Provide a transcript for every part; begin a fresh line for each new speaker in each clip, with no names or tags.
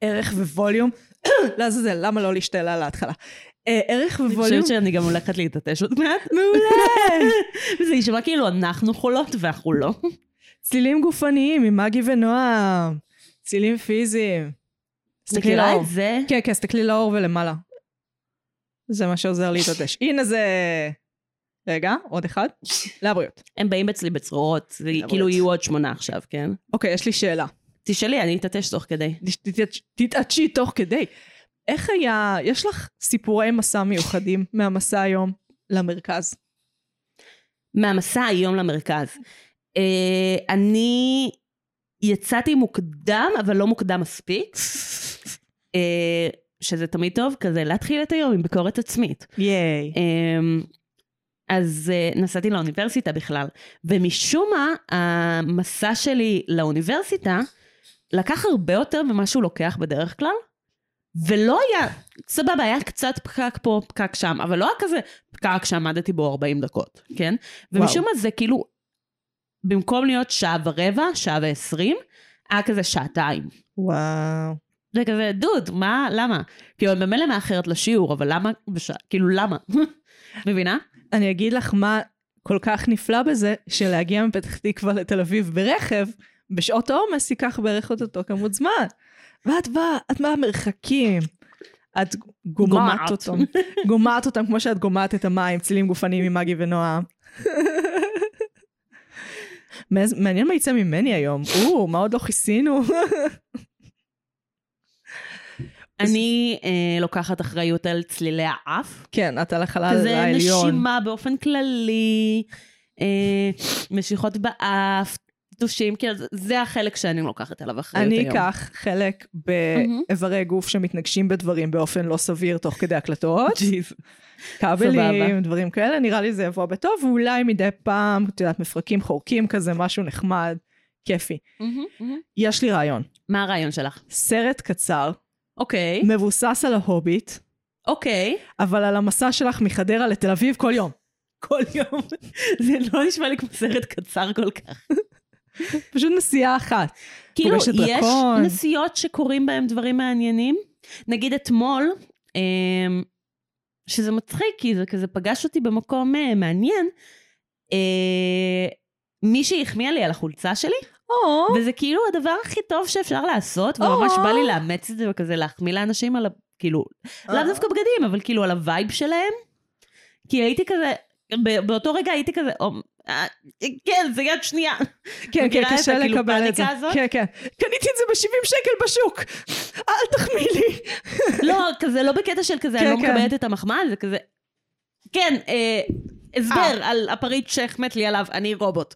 ערך וווליום. לעזאזל, למה לא להשתעלה להתחלה? אה, ערך
אני
וווליום.
חושבת שאני גם הולכת להתעטש עוד מעט.
מעולה!
וזה יישמע כאילו אנחנו חולות ואנחנו לא.
צלילים גופניים עם מגי ונועם. צלילים פיזיים. תסתכלי
מכירה
לאור.
את זה?
כן, כן, תסתכלי לאור ולמעלה. זה מה שעוזר להתעטש. הנה זה... רגע, עוד אחד. לבריאות.
הם באים אצלי בצרורות, זה
למרות.
כאילו יהיו עוד שמונה עכשיו, כן?
אוקיי, יש לי שאלה.
תשאלי, אני אתעטש תוך כדי.
תתעטש- תתעטשי תוך כדי. איך היה... יש לך סיפורי מסע מיוחדים מהמסע היום למרכז?
מהמסע היום למרכז. אה, אני יצאתי מוקדם, אבל לא מוקדם מספיק, אה, שזה תמיד טוב, כזה להתחיל את היום עם ביקורת עצמית.
ייי.
אמ, אז אה, נסעתי לאוניברסיטה בכלל, ומשום מה המסע שלי לאוניברסיטה לקח הרבה יותר ממה שהוא לוקח בדרך כלל, ולא היה, סבבה, היה קצת פקק פה, פקק שם, אבל לא היה כזה פקק שעמדתי בו 40 דקות, כן? ומשום מה זה כאילו, במקום להיות שעה ורבע, שעה ועשרים, היה כזה שעתיים.
וואו.
זה כזה, דוד, מה, למה? כאילו, אני במילא מאחרת לשיעור, אבל למה, בשעה, כאילו, למה? מבינה?
אני אגיד לך מה כל כך נפלא בזה, שלהגיע מפתח תקווה לתל אביב ברכב, בשעות העומס ייקח בערך את אותו כמות זמן. ואת באה, את מהמרחקים. את גומעת
גומעת.
אותם. גומעת אותם כמו שאת גומעת את המים, צלילים גופניים עם מגי ונועם. מאז- מעניין מה יצא ממני היום. או, מה עוד לא כיסינו?
אני אה, לוקחת אחריות על צלילי האף,
כן, את על החלל
כזה
העליון.
נשימה באופן כללי, אה, משיכות באף, טושים, כאילו, זה- זה החלק שאני לוקחת עליו אחריות
אני
היום.
אקח חלק
מהמם.
באיברי גוף שמתנגשים בדברים באופן לא סביר תוך כדי הקלטות.
סבבה.
כבלים, דברים כאלה, נראה לי זה יבוא בטוב, ואולי מדי פעם, את יודעת, מפרקים חורקים כזה, משהו נחמד, כיפי.
מהמם, מהמם.
יש לי רעיון.
מה הרעיון שלך?
סרט קצר,
אוקיי,
מבוסס על ההוביט,
אוקיי.
אבל על המסע שלך מחדרה לתל אביב כל יום.
כל יום. זה לא נשמע לי כמו סרט קצר כל כך.
פשוט נסיעה אחת.
כאילו,
פוגשת
יש
דרקון.
נסיעות שקורים בהן דברים מעניינים. נגיד אתמול, אמ, שזה מצחיק, כי זה כזה פגש אותי במקום אה, מעניין, אה, מישהי החמיאה לי על החולצה שלי,
או,
וזה כאילו הדבר הכי טוב שאפשר לעשות, וממש
או.
בא לי לאמץ את זה וכזה להחמיא לאנשים על ה... כאילו,
אה,
לאו דווקא בגדים, אבל כאילו על הווייב שלהם. כי הייתי כזה, ב- באותו רגע הייתי כזה, "או, אה, כן, זה יד שנייה.
כן, כן,
מכירה את
קשה
הכאילו
לקבל את זה.
פאניקה הזאת?
כן, כן. קניתי את זה ב-70 שקל בשוק! אל תחמיא לי!
לא, כזה לא בקטע של כזה,
כן,
אני לא
כן.
מקבלת את המחמאה, זה כזה... כן, אה, הסבר
אה.
על הפריט שהחמאת לי עליו, אני רובוט.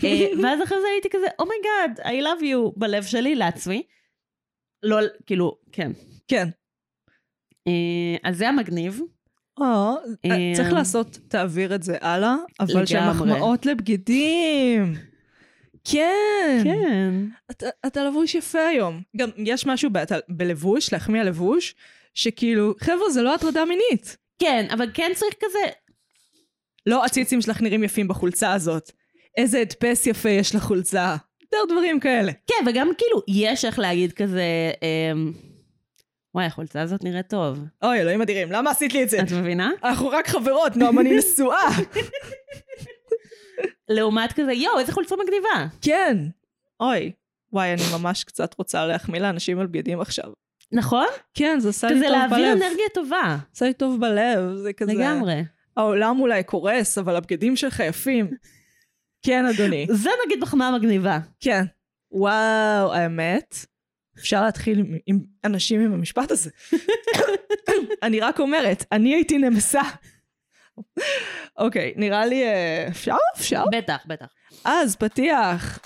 אה, ואז אחרי זה הייתי כזה, אומייגאד, oh my God, I love you בלב שלי, לעצמי. לא, כאילו, כן.
כן.
אה, אז זה המגניב.
או,
אה,
צריך לעשות, תעביר את זה הלאה, אבל
לגמרי.
שהמחמאות לבגידים. כן.
כן.
אתה, אתה לבוש יפה היום. גם יש משהו ב, אתה, בלבוש, להחמיא על לבוש, שכאילו, חבר'ה, זה לא הטרדה מינית.
כן, אבל כן צריך כזה...
לא הציצים שלך נראים יפים בחולצה הזאת. איזה הדפס יפה יש לחולצה. יותר דברים כאלה.
כן, וגם כאילו, יש איך להגיד כזה... אה, וואי, החולצה הזאת נראית טוב.
אוי, אלוהים אדירים, למה עשית לי את זה?
את מבינה?
אנחנו רק חברות, נועם, אני נשואה.
לעומת כזה, יואו, איזה חולצה מגניבה.
כן. אוי. וואי, אני ממש קצת רוצה להחמיא לאנשים על בגדים עכשיו.
נכון?
כן, זה עשה לי טוב
כזה
בלב.
להעביר אנרגיה טובה.
עשה לי טוב בלב, זה כזה...
לגמרי.
העולם אולי קורס, אבל הבגדים שלך יפים. כן, אדוני.
זה נגיד מחמאה מגניבה.
כן. וואו, האמת, אפשר להתחיל עם, עם אנשים עם המשפט הזה. אני רק אומרת, אני הייתי נמסה. אוקיי, נראה לי אה, אפשר? אפשר?
בטח, בטח.
אז פתיח.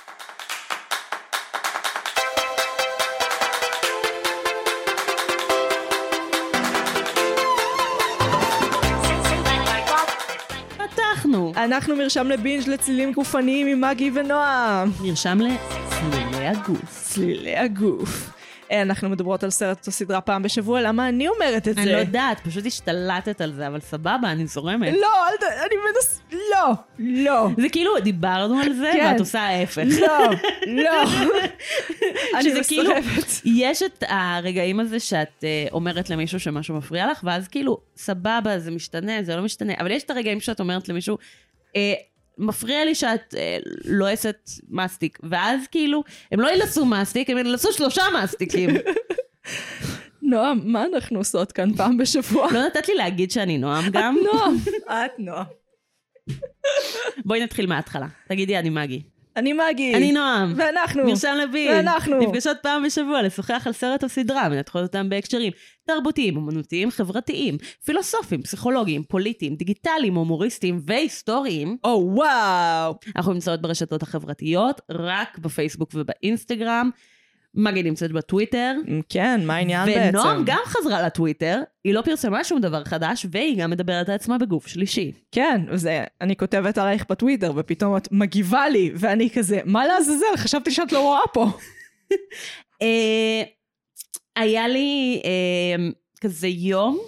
פתחנו.
אנחנו מרשם לבינג' לצלילים גופניים עם מגי ונועם.
נרשם לצלילי הגוף.
צלילי הגוף. אה, אנחנו מדברות על סרט או סדרה פעם בשבוע, למה אני אומרת את זה?
אני לא יודעת, פשוט השתלטת על זה, אבל סבבה, אני זורמת.
לא, אל ת- אני מנס... לא, לא.
זה כאילו, דיברנו על זה,
כן.
ואת עושה ההפך.
לא, לא. אני
שזה כאילו-
מסרבת.
יש את הרגעים הזה שאת אה, אומרת למישהו שמשהו מפריע לך, ואז כאילו, סבבה, זה משתנה, זה לא משתנה, אבל יש את הרגעים שאת אומרת למישהו, אה, מפריע לי שאת אה, לועסת מסטיק, ואז כאילו, הם לא ילעסו מסטיק, הם ילעסו שלושה מסטיקים.
נועם, מה אנחנו עושות כאן פעם בשבוע?
לא נתת לי להגיד שאני נועם גם.
נועם. את נועם.
בואי נתחיל מההתחלה. תגידי, אני מגי.
אני מגי.
אני נועם.
ואנחנו.
מרשם לביל.
ואנחנו.
נפגשות פעם בשבוע לשוחח על סרט או סדרה, מנתחות אותם בהקשרים תרבותיים, אומנותיים, חברתיים, פילוסופיים, פסיכולוגיים, פוליטיים, דיגיטליים, הומוריסטיים והיסטוריים.
או וואו.
אנחנו נמצאות ברשתות החברתיות, רק בפייסבוק ובאינסטגרם. מגי נמצאת בטוויטר.
כן, מה העניין בעצם?
ונועם גם חזרה לטוויטר, היא לא פרסמה שום דבר חדש, והיא גם מדברת על עצמה בגוף שלישי.
כן, זה, אני כותבת עלייך בטוויטר, ופתאום את מגיבה לי, ואני כזה, מה לעזאזל? חשבתי שאת לא רואה פה.
אה, היה לי אה, כזה יום,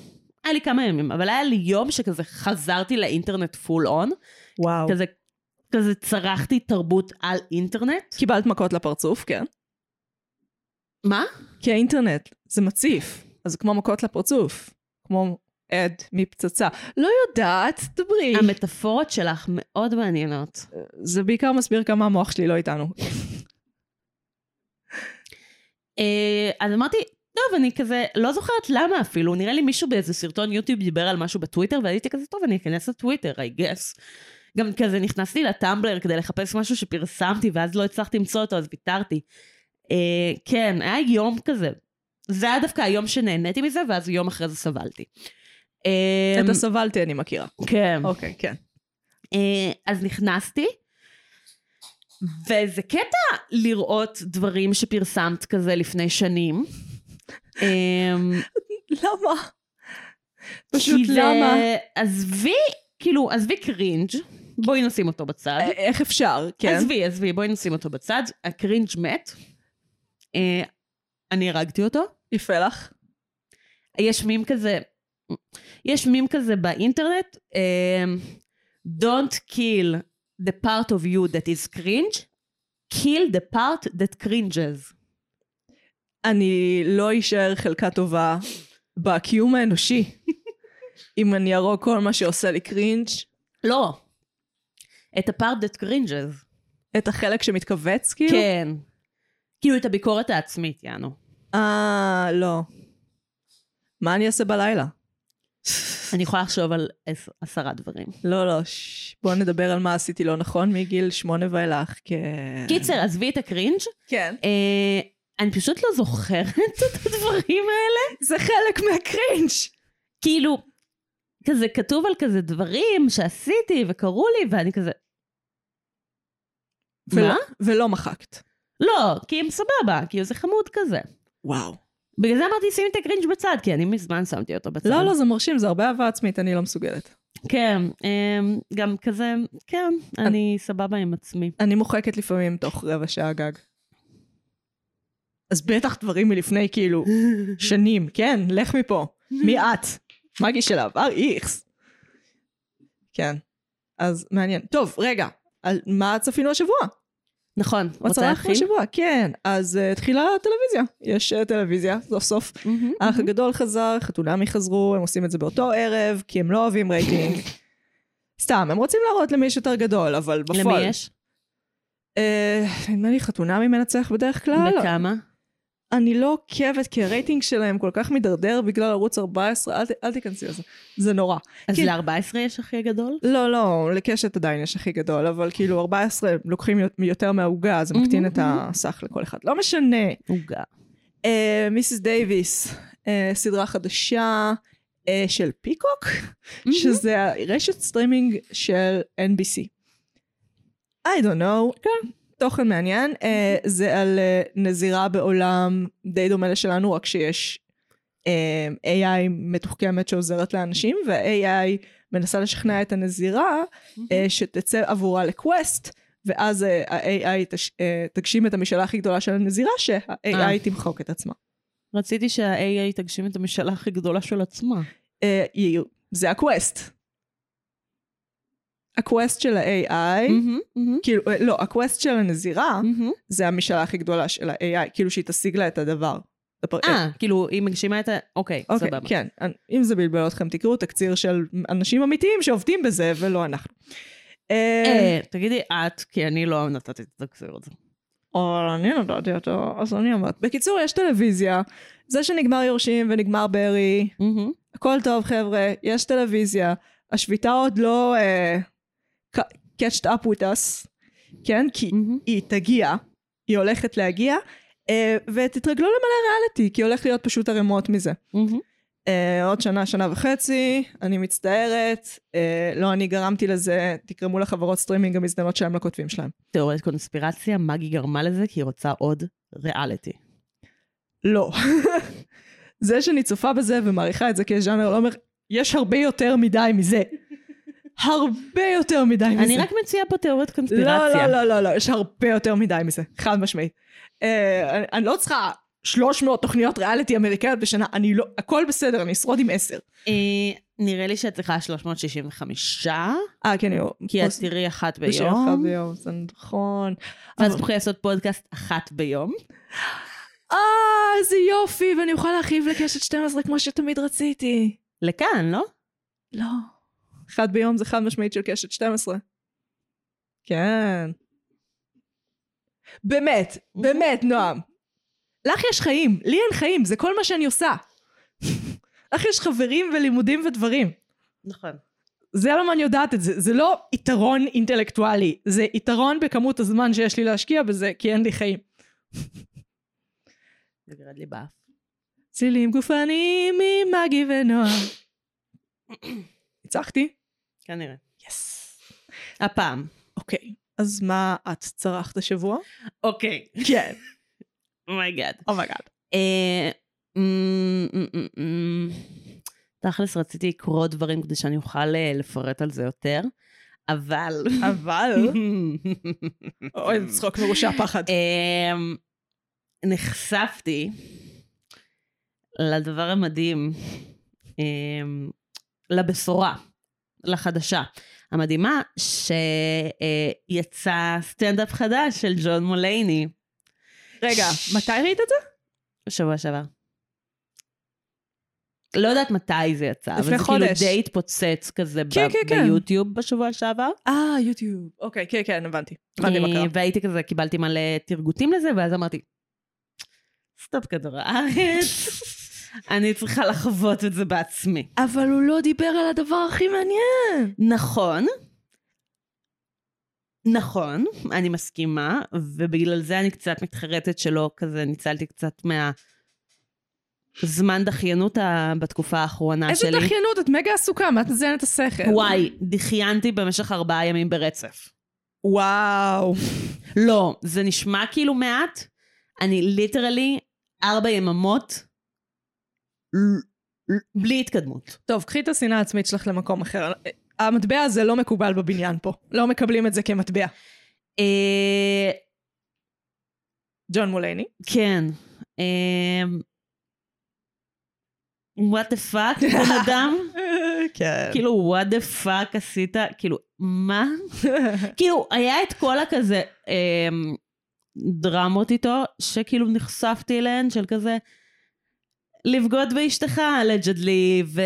היה לי כמה ימים, אבל היה לי יום שכזה חזרתי לאינטרנט פול און,
וואו.
כזה, כזה צרחתי תרבות על אינטרנט.
קיבלת מכות לפרצוף, כן?
מה?
כי האינטרנט זה מציף, אז זה כמו מכות לפרצוף. כמו עד מפצצה. לא יודעת, דברי.
אמ- המטאפורות שלך מאוד מעניינות.
זה בעיקר מסביר כמה המוח שלי לא איתנו.
אמ- אה, אז אמרתי, טוב, אני כזה, לא זוכרת למה אפילו, נראה לי מישהו באיזה סרטון יוטיוב דיבר על משהו בטוויטר, ואז הייתי כזה, טוב, אני אכנס לטוויטר, I guess. גם כזה נכנסתי לטמבלר כדי לחפש משהו שפרסמתי, ואז לא הצלחתי למצוא אותו, אז ויתרתי. אה, כן, היה יום כזה. זה היה דווקא היום שנהניתי מזה, ואז יום אחרי זה סבלתי. אה,
את הסבלתי אני מכירה.
כן.
אוקיי, כן.
אה, אז נכנסתי, וזה קטע לראות דברים שפרסמת כזה לפני שנים. אה,
למה?
כי
פשוט
זה-
למה?
עזבי, כאילו, עזבי קרינג', בואי נשים אותו בצד.
א- איך אפשר, כן?
עזבי, עזבי, בואי נשים אותו בצד. הקרינג' מת. אה, אני הרגתי אותו.
יפה לך.
יש מים כזה, יש מים כזה באינטרנט, אה, Don't kill the part of you that is cringe, kill the part that cringes.
אני לא אשאר חלקה טובה בקיום האנושי. אם אני ארוג כל מה שעושה לי קרינג',
לא. את ה-part that cringes.
את החלק שמתכווץ, כאילו?
כן. כאילו את הביקורת העצמית, יענו.
אה, לא. מה אני אעשה בלילה?
אני יכולה לחשוב על עש- עשרה דברים.
לא, לא, ש... בואו נדבר על מה עשיתי לא נכון מגיל שמונה ואילך, כן.
קיצר, עזבי את הקרינג'.
כן.
אה, אני פשוט לא זוכרת את הדברים האלה.
זה חלק מהקרינג'.
כאילו, כזה כתוב על כזה דברים שעשיתי וקרו לי, ואני כזה...
ולא-
מה?
ולא מחקת.
לא, כי הם סבבה, כאילו זה חמוד כזה.
וואו.
בגלל זה אמרתי, שימי את הקרינג' בצד, כי אני מזמן שמתי אותו בצד.
לא, לא, זה מרשים, זה הרבה אהבה עצמית, אני לא מסוגלת.
כן, אה, גם כזה, כן, אני סבבה עם עצמי.
אני מוחקת לפעמים תוך רבע שעה גג. אז בטח דברים מלפני כאילו שנים, כן, לך מפה. מי את? מגי של העבר איכס. כן, אז מעניין. טוב, רגע, על מה צפינו השבוע?
נכון,
מה
רוצה
צלחנו
להתחיל?
השבוע? כן, אז uh, תחילה טלוויזיה. יש uh, טלוויזיה, סוף סוף.
מהמם.
האח הגדול חזר, חתונמי חזרו, הם עושים את זה באותו ערב, כי הם לא אוהבים רייטינג. סתם, הם רוצים להראות למי יש יותר גדול, אבל בפועל.
למי יש?
אה, נדמה לי חתונמי מנצח בדרך
לא,
כלל.
וכמה?
אני לא עוקבת כי הרייטינג שלהם כל כך מידרדר בגלל ערוץ 14, אל, ת- אל תיכנסי לזה. זה נורא.
אז
כן.
ל-14 יש הכי גדול?
לא, לא, לקשת עדיין יש הכי גדול, אבל כאילו 14 לוקחים יו- יותר מהעוגה, אז זה מקטין
מהמם,
את הסך לכל אחד. לא משנה.
עוגה.
אה, מיסיס דייוויס, אה, סדרה חדשה אה, של פיקוק, שזה הרשת סטרימינג של NBC. I don't know. כן. תוכן מעניין, אה, זה על אה, נזירה בעולם די דומה לשלנו, רק שיש אה, AI מתוחכמת שעוזרת לאנשים, וה-AI מנסה לשכנע את הנזירה אה, שתצא עבורה לקווסט, ואז אה, ה-AI תש- אה, תגשים את המשאלה הכי גדולה של הנזירה, שה-AI
אה.
תמחוק את עצמה.
רציתי שה-AA תגשים את המשאלה הכי גדולה של עצמה.
אה, יהיו. זה הקווסט. הקווסט של ה-AI,
מהמם, מהמם,
כאילו, אה, לא, הקווסט של הנזירה,
מהמם.
זה המשאלה הכי גדולה של ה-AI, כאילו שהיא תשיג לה את הדבר. הפר-
אה, כאילו, היא מגשימה את ה... אוקיי,
אוקיי,
סבבה.
כן. אנ- אם זה בלבל אתכם, תקראו תקציר של אנשים אמיתיים שעובדים בזה, ולא אנחנו. אה,
אה, תגידי את, כי אני לא נתתי את התקציר הזה.
אבל אני נתתי אותו, אז אני אומרת. בקיצור, יש טלוויזיה. זה שנגמר יורשים ונגמר ברי,
מהמם.
הכל טוב חבר'ה, יש טלוויזיה. השביתה עוד לא uh, catched up with us, כן? כי
מהמם.
היא תגיע, היא הולכת להגיע, uh, ותתרגלו למלא ריאליטי, כי הולך להיות פשוט ערימות מזה.
מהמם.
אה, עוד שנה, שנה וחצי, אני מצטערת, אה, לא אני גרמתי לזה, תגרמו לחברות סטרימינג המזדמנות שלהם לכותבים שלהם.
תיאוריית קונספירציה, מגי גרמה לזה כי היא רוצה עוד ריאליטי.
לא. זה שאני צופה בזה ומעריכה את זה כז'אנר לא אומר, יש הרבה יותר מדי מזה. הרבה יותר מדי מזה.
אני רק מציעה פה תיאוריית
לא,
קונספירציה.
לא, לא, לא, לא, יש הרבה יותר מדי מזה, חד משמעית. אה, אני, אני לא צריכה 300 תוכניות ריאליטי אמריקאיות בשנה, אני לא, הכל בסדר, אני אשרוד עם 10.
אה, נראה לי שאת צריכה 365,
אה, כן, יו.
כי את תראי אחת
בשעה אחת
ביום,
ביום, זה נכון.
ואז תוכלי לעשות פודקאסט אחת ביום.
אה, איזה יופי, ואני אוכל להרחיב לקשת 12 כמו שתמיד רציתי.
לכאן, לא?
לא. אחד ביום זה חד משמעית של קשת 12. כן. באמת, באמת, נועם. לך יש חיים, לי אין חיים, זה כל מה שאני עושה. לך יש חברים ולימודים ודברים.
נכון.
זה למה אני יודעת את זה, זה לא יתרון אינטלקטואלי, זה יתרון בכמות הזמן שיש לי להשקיע בזה, כי אין לי חיים.
זה גרד לי באף.
צלילים גופניים ממגי ונועם. ניצחתי?
כנראה.
יס.
הפעם.
אוקיי, אז מה את צרחת השבוע?
אוקיי.
כן. oh
אומייגאד.
אומייגאד.
Oh אה, אמ, אמ, אמ, אמ. תכלס רציתי לקרוא דברים כדי שאני אוכל אה, לפרט על זה יותר, אבל...
אבל...
אה?
אוי, זה צחוק מרושע פחד.
אמ, נחשפתי לדבר המדהים, אמ, לבשורה, לחדשה המדהימה, שיצא סטנדאפ חדש של ג'ון מולייני
רגע, מתי ראית את זה?
בשבוע שעבר. לא יודעת מתי זה יצא, אבל
לפני
זה כאילו
חודש.
די התפוצץ כזה ב-
כן, כן, כן.
ביוטיוב בשבוע שעבר.
אה, יוטיוב. אוקיי, כן, כן, הבנתי. הבנתי מה
אה,
קרה.
והייתי כזה, קיבלתי מלא תרגותים לזה, ואז אמרתי, סטופ כדור הארץ, אני צריכה לחוות את זה בעצמי.
אבל הוא לא דיבר על הדבר הכי מעניין.
נכון, נכון, אני מסכימה, ובגלל זה אני קצת מתחרטת שלא כזה ניצלתי קצת מה... זמן דחיינות ה- בתקופה האחרונה
איזה
שלי.
דחיינות, את מגה עסוקה, מה את מזיינת את השכל?
וואי, דחיינתי במשך ארבעה ימים ברצף.
וואו.
לא, זה נשמע כאילו מעט. אני ליטרלי ארבע יממות ל- ל- בלי התקדמות.
טוב, קחי את השנאה העצמית שלך למקום אחר. המטבע הזה לא מקובל בבניין פה. לא מקבלים את זה כמטבע.
אה,
ג'ון מולייני.
כן. אמ, וואט דה פאק, בן אדם?
אה, כן.
כאילו, וואט דה פאק עשית? כאילו, מה? כאילו, היה את כל הכזה אמ, דרמות איתו, שכאילו נחשפתי אליהן, של כזה לבגוד באשתך, אלג'דלי, ו...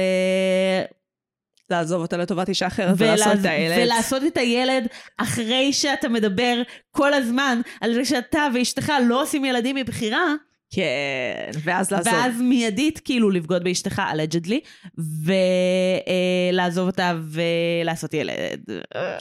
לעזוב אותה לטובת אישה אחרת ולעשות את
ולעז-
האלה.
ולעשות את הילד אחרי שאתה מדבר כל הזמן על זה שאתה ואשתך לא עושים ילדים מבחירה,
כן, ואז לעזוב.
ואז מיידית כאילו לבגוד באשתך, אלג'דלי, ולעזוב אותה ולעשות ילד.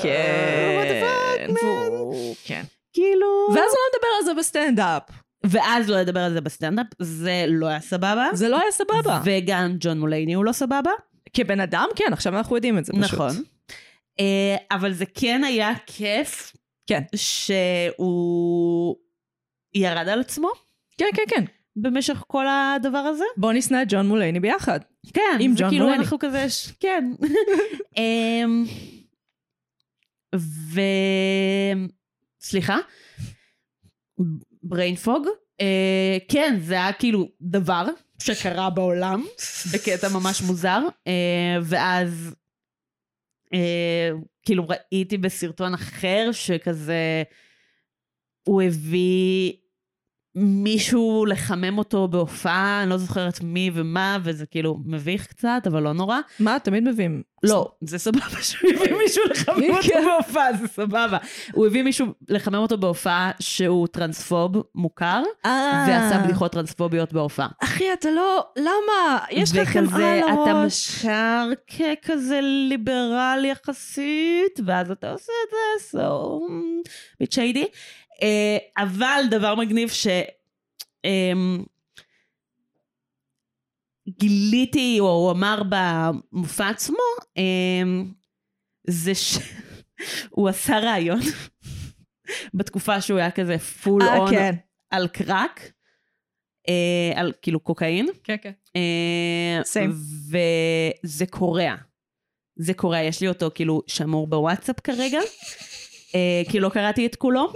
כן.
אה, What the fuck, man?
והוא- כן.
כאילו...
ואז הוא לא מדבר על זה בסטנדאפ.
ואז לא לדבר על זה בסטנדאפ, זה לא היה סבבה.
זה לא היה סבבה.
וגם ג'ון מולייני הוא לא סבבה.
כבן אדם, כן, עכשיו אנחנו יודעים את זה פשוט.
נכון. אה, אבל זה כן היה כיף.
כן.
שהוא ירד על עצמו
כן, כן, כן.
במשך כל הדבר הזה.
בוא נשנא את ג'ון מולייני ביחד.
כן,
עם
זה
ג'ון
כאילו
מולני.
אנחנו כזה, ש- כן. אמ, ו... סליחה? בריינפוג, אה, כן, זה היה כאילו דבר שקרה בעולם, בקטע ממש מוזר, אה, ואז אה, כאילו ראיתי בסרטון אחר שכזה, הוא הביא מישהו לחמם אותו בהופעה, אני לא זוכרת מי ומה, וזה כאילו מביך קצת, אבל לא נורא.
מה, תמיד מביאים.
לא, זה סבבה שהוא הביא מישהו לחמם אותו
כן.
בהופעה, זה סבבה. הוא הביא מישהו לחמם אותו בהופעה שהוא טרנספוב מוכר,
אה.
ועשה בדיחות טרנספוביות בהופעה.
אחי, אתה לא... למה? יש לך חמאה
וכזה,
על
אתה
הראש.
מוכר ככזה ליברל יחסית, ואז אתה עושה את זה, so... ביט שיידי. אה, אבל דבר מגניב ש... אמ, גיליתי, או הוא אמר במופע עצמו, אמ, זה שהוא עשה רעיון בתקופה שהוא היה כזה פול
אה,
און
כן.
על קרק, אה, על כאילו קוקאין.
כן, כן.
אה,
Same.
וזה קורע. זה קורע, יש לי אותו כאילו שמור בוואטסאפ כרגע. אה, כי לא קראתי את כולו,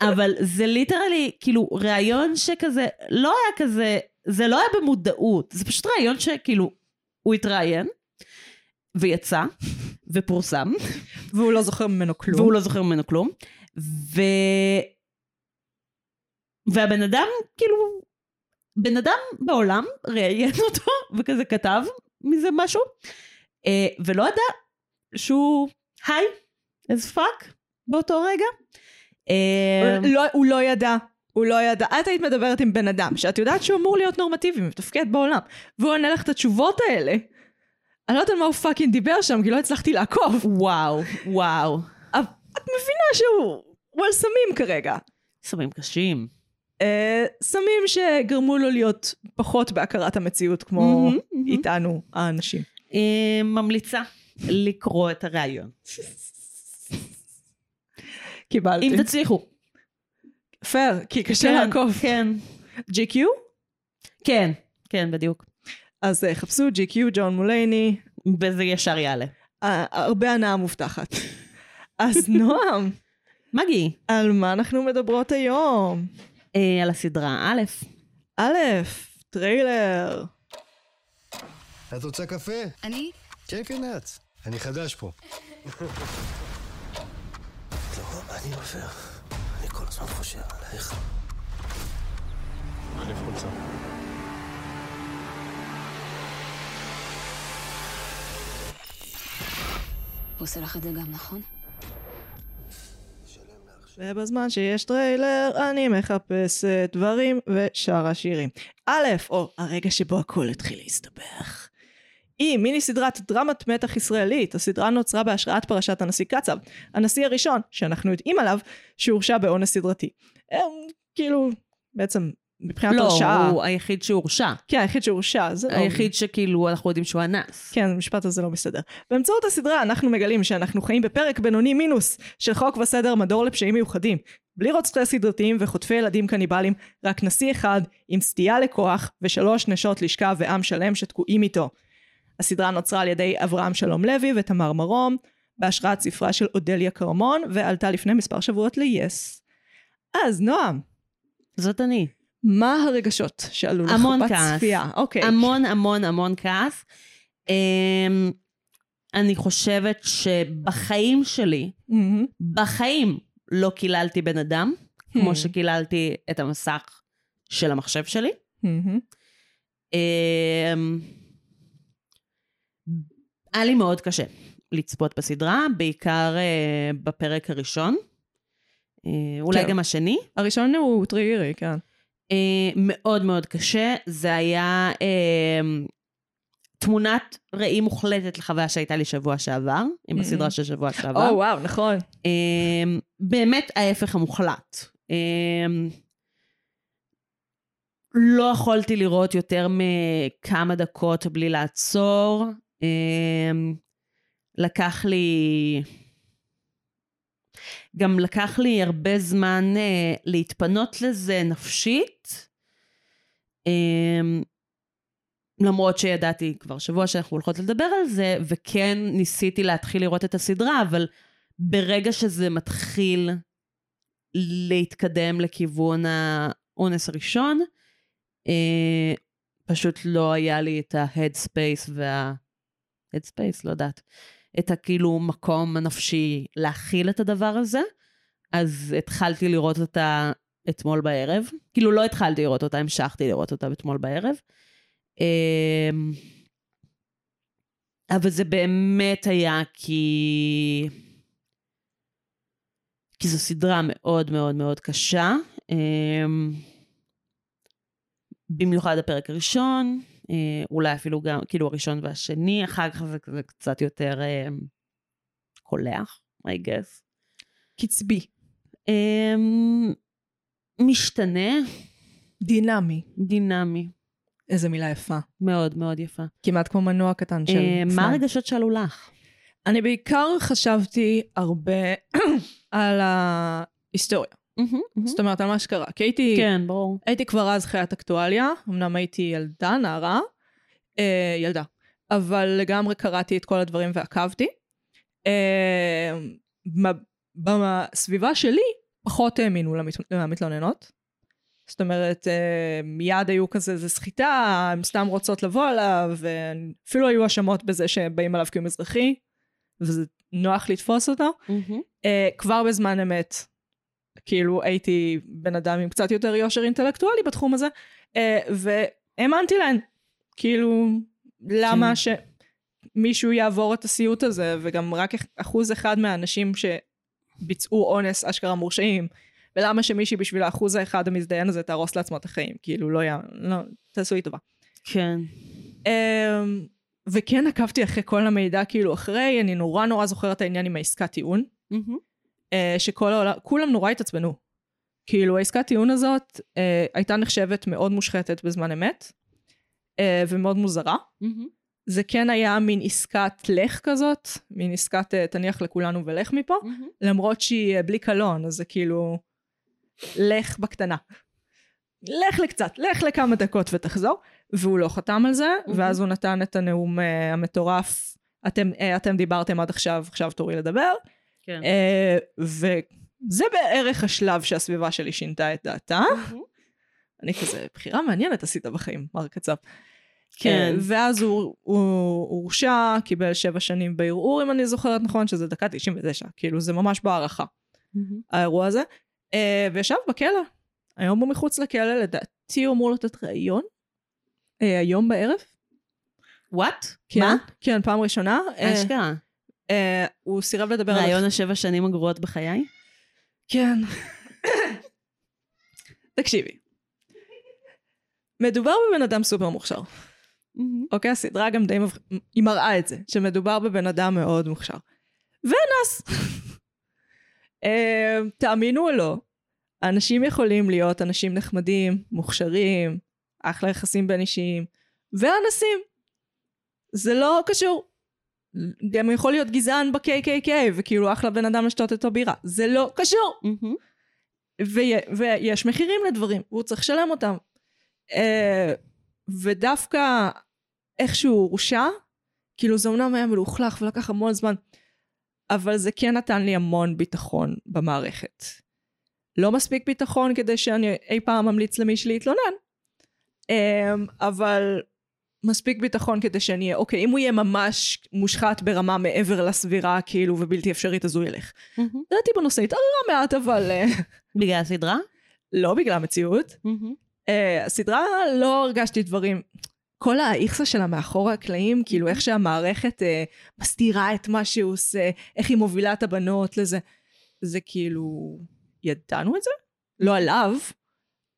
אבל זה ליטרלי, כאילו, ראיון שכזה, לא היה כזה, זה לא היה במודעות, זה פשוט ראיון שכאילו, הוא התראיין, ויצא, ופורסם,
והוא לא זוכר ממנו כלום.
והוא לא זוכר ממנו כלום. ו... והבן אדם, כאילו, בן אדם בעולם ראיין אותו וכזה כתב מזה משהו, אה, ולא ידע שהוא היי, as fuck, באותו רגע. אה,
לא, הוא לא ידע. הוא לא ידע. את היית מדברת עם בן אדם, שאת יודעת שהוא אמור להיות נורמטיבי ומתפקד בעולם, והוא עונה לך את התשובות האלה. אני לא יודעת על מה הוא פאקינג דיבר שם, כי לא הצלחתי לעקוב.
וואו, וואו.
אבל את מבינה שהוא... הוא על סמים כרגע.
סמים קשים.
אה, סמים שגרמו לו להיות פחות בהכרת המציאות כמו
מהמם, מהמם.
איתנו האנשים.
אה, ממליצה לקרוא את הראיון.
קיבלתי.
אם תצליחו.
פייר, כי קשה
כן,
לעקוב.
כן.
GQ?
כן, כן, בדיוק.
אז אה, חפשו GQ, ג'ון מולייני,
וזה ישר יעלה.
אה, הרבה הנאה מובטחת. אז נועם,
מגי,
על מה אנחנו מדברות היום?
אה, על הסדרה א',
א', טריילר.
את רוצה קפה?
אני?
כן, כן, את. אני חדש פה. לא, אני עובר. אני כל הזמן חושב עלייך.
אלף חולצה.
הוא עושה לך את זה גם, נכון?
ובזמן שיש טריילר, אני מחפשת דברים ושרה שירים. א', או הרגע שבו הכל התחיל להסתבך. היא מיני סדרת דרמת מתח ישראלית. הסדרה נוצרה בהשראת פרשת הנשיא קצב, הנשיא הראשון, שאנחנו יודעים עליו, שהורשע באונס סדרתי. הם, כאילו, בעצם, מבחינת
לא,
הרשעה...
הוא היחיד שהורשע.
כן, היחיד שהורשע, זה לא...
היחיד שכאילו אנחנו יודעים שהוא אנס.
כן, המשפט הזה לא מסתדר. באמצעות הסדרה אנחנו מגלים שאנחנו חיים בפרק בינוני מינוס של חוק וסדר מדור לפשעים מיוחדים. בלי רוצחי סדרתיים וחוטפי ילדים קניבלים, רק נשיא אחד עם סטייה לכוח ושלוש נשות לשכה ועם שלם שתקועים איתו. הסדרה נוצרה על ידי אברהם שלום לוי ותמר מרום, בהשראת ספרה של אודליה כרמון, ועלתה לפני מספר שבועות ל-yes. אז נועם, כן.
זאת אני.
מה הרגשות שעלו לך
המון כעס.
בצפייה? אוקיי.
המון המון המון כעס. אמ, אני חושבת שבחיים שלי,
מהמם.
בחיים לא קיללתי בן אדם,
Hmm.
כמו שקיללתי את המסך של המחשב שלי.
מהמם.
אמ, היה לי מאוד קשה לצפות בסדרה, בעיקר אה, בפרק הראשון, אה, אולי
כן.
גם השני.
הראשון הוא טריגרי, כן.
אה, מאוד מאוד קשה, זה היה אה, תמונת ראי מוחלטת לחוויה שהייתה לי שבוע שעבר, עם
Mm-mm.
הסדרה של שבוע שעבר.
או וואו, נכון.
אמ, באמת ההפך המוחלט. אמ, לא יכולתי לראות יותר מכמה דקות בלי לעצור. אמ, לקח לי... גם לקח לי הרבה זמן אה, להתפנות לזה נפשית. אמ, למרות שידעתי כבר שבוע שאנחנו הולכות לדבר על זה, וכן ניסיתי להתחיל לראות את הסדרה, אבל ברגע שזה מתחיל להתקדם לכיוון האונס הראשון. אה, פשוט לא היה לי את ההד ספייס וה... הד ספייס, לא יודעת. את הכאילו מקום הנפשי להכיל את הדבר הזה. אז התחלתי לראות אותה אתמול בערב. כאילו לא התחלתי לראות אותה, המשכתי לראות אותה אתמול בערב. אמ, אבל זה באמת היה כי... כי זו סדרה מאוד מאוד מאוד קשה. אמ, במיוחד הפרק הראשון, אה, אולי אפילו גם, כאילו הראשון והשני, אחר כך זה כזה קצת יותר אמ, קולח, I guess.
קצבי,
אמ, משתנה,
דינמי,
דינמי,
איזה מילה יפה.
מאוד מאוד יפה.
כמעט כמו מנוע קטן של
אה, מה
פנאי.
הרגשות שעלו לך?
אני בעיקר חשבתי הרבה על ההיסטוריה. זאת אומרת, על מה שקרה. כי הייתי,
כן, ברור.
הייתי כבר אז חיית אקטואליה, אמנם הייתי ילדה, נערה, אה, ילדה, אבל לגמרי קראתי את כל הדברים ועקבתי. אה, מה- בסביבה שלי פחות האמינו למת- למתלוננות. זאת אומרת, אה, מיד היו כזה, זה סחיטה, הן סתם רוצות לבוא עליו, אה, אפילו היו האשמות בזה שבאים עליו כי הוא מזרחי, וזה נוח לתפוס אותו. אה, כבר בזמן אמת, כאילו הייתי בן אדם עם קצת יותר יושר אינטלקטואלי בתחום הזה, אה, והאמנתי להן, כאילו, למה
כן.
שמישהו יעבור את הסיוט הזה, וגם רק אח- אחוז אחד מהאנשים שביצעו אונס אשכרה מורשעים, ולמה שמישהי בשביל האחוז האחד המזדיין הזה תהרוס לעצמה את החיים, כאילו, לא, יא- לא תעשו לי טובה.
כן.
אמ, וכן עקבתי אחרי כל המידע, כאילו, אחרי, אני נורא נורא זוכרת את העניין עם העסקת טיעון. אה, שכל העולם, כולם נורא התעצבנו. כאילו העסקת טיעון הזאת אה, הייתה נחשבת מאוד מושחתת בזמן אמת, אה, ומאוד מוזרה. זה כן היה מין עסקת לך כזאת, מין עסקת אה, תניח לכולנו ולך מפה, למרות שהיא אה, בלי קלון, אז זה כאילו לך בקטנה. לך לקצת, לך לכמה דקות ותחזור. והוא לא חתם על זה, ואז הוא נתן את הנאום אה, המטורף, אתם, אה, אתם דיברתם עד עכשיו, עכשיו תורי לדבר.
כן.
אה, וזה בערך השלב שהסביבה שלי שינתה את דעתה. אני כזה, בחירה מעניינת עשית בחיים, מר קצב.
כן.
אה, ואז הוא הוא הורשע, קיבל שבע שנים בערעור, אם אני זוכרת נכון, שזה דקה 99, כאילו זה ממש בהערכה, האירוע הזה. אה, וישב בכלא. היום הוא מחוץ לכלא, לדעתי הוא אמור לתת ראיון. אה, היום בערב.
וואט?
מה? כן, פעם ראשונה. אה,
אשכרה.
אה, הוא סירב לדבר על
רעיון השבע שנים הגרועות בחיי?
כן. תקשיבי. מדובר בבן אדם סופר מוכשר. אוקיי, הסדרה גם די מבח... היא מראה את זה, שמדובר בבן אדם מאוד מוכשר. ונס! אה, תאמינו או לא, אנשים יכולים להיות אנשים נחמדים, מוכשרים, אחלה יחסים בין אישיים, ואנסים. זה לא קשור. גם יכול להיות גזען ב-KKK, וכאילו אחלה בן אדם לשתות איתו בירה. זה לא קשור. וי- ויש מחירים לדברים, והוא צריך לשלם אותם. אה, ודווקא איך שהוא הורשע, כאילו זה אמנם היה מלוכלך ולקח המון זמן, אבל זה כן נתן לי המון ביטחון במערכת. לא מספיק ביטחון כדי שאני אי פעם אמליץ למישהי להתלונן, אה, אבל מספיק ביטחון כדי שאני אהיה, אוקיי, אם הוא יהיה ממש מושחת ברמה מעבר לסבירה, כאילו, ובלתי אפשרית, אז הוא ילך. דעתי בנושא התערערה מעט, אבל... אה,
בגלל הסדרה?
לא בגלל המציאות. Uh, הסדרה לא הרגשתי דברים. כל האיכסה שלה מאחורי הקלעים, כאילו איך שהמערכת uh, מסתירה את מה שהוא עושה, איך היא מובילה את הבנות לזה, זה כאילו, ידענו את זה? לא עליו,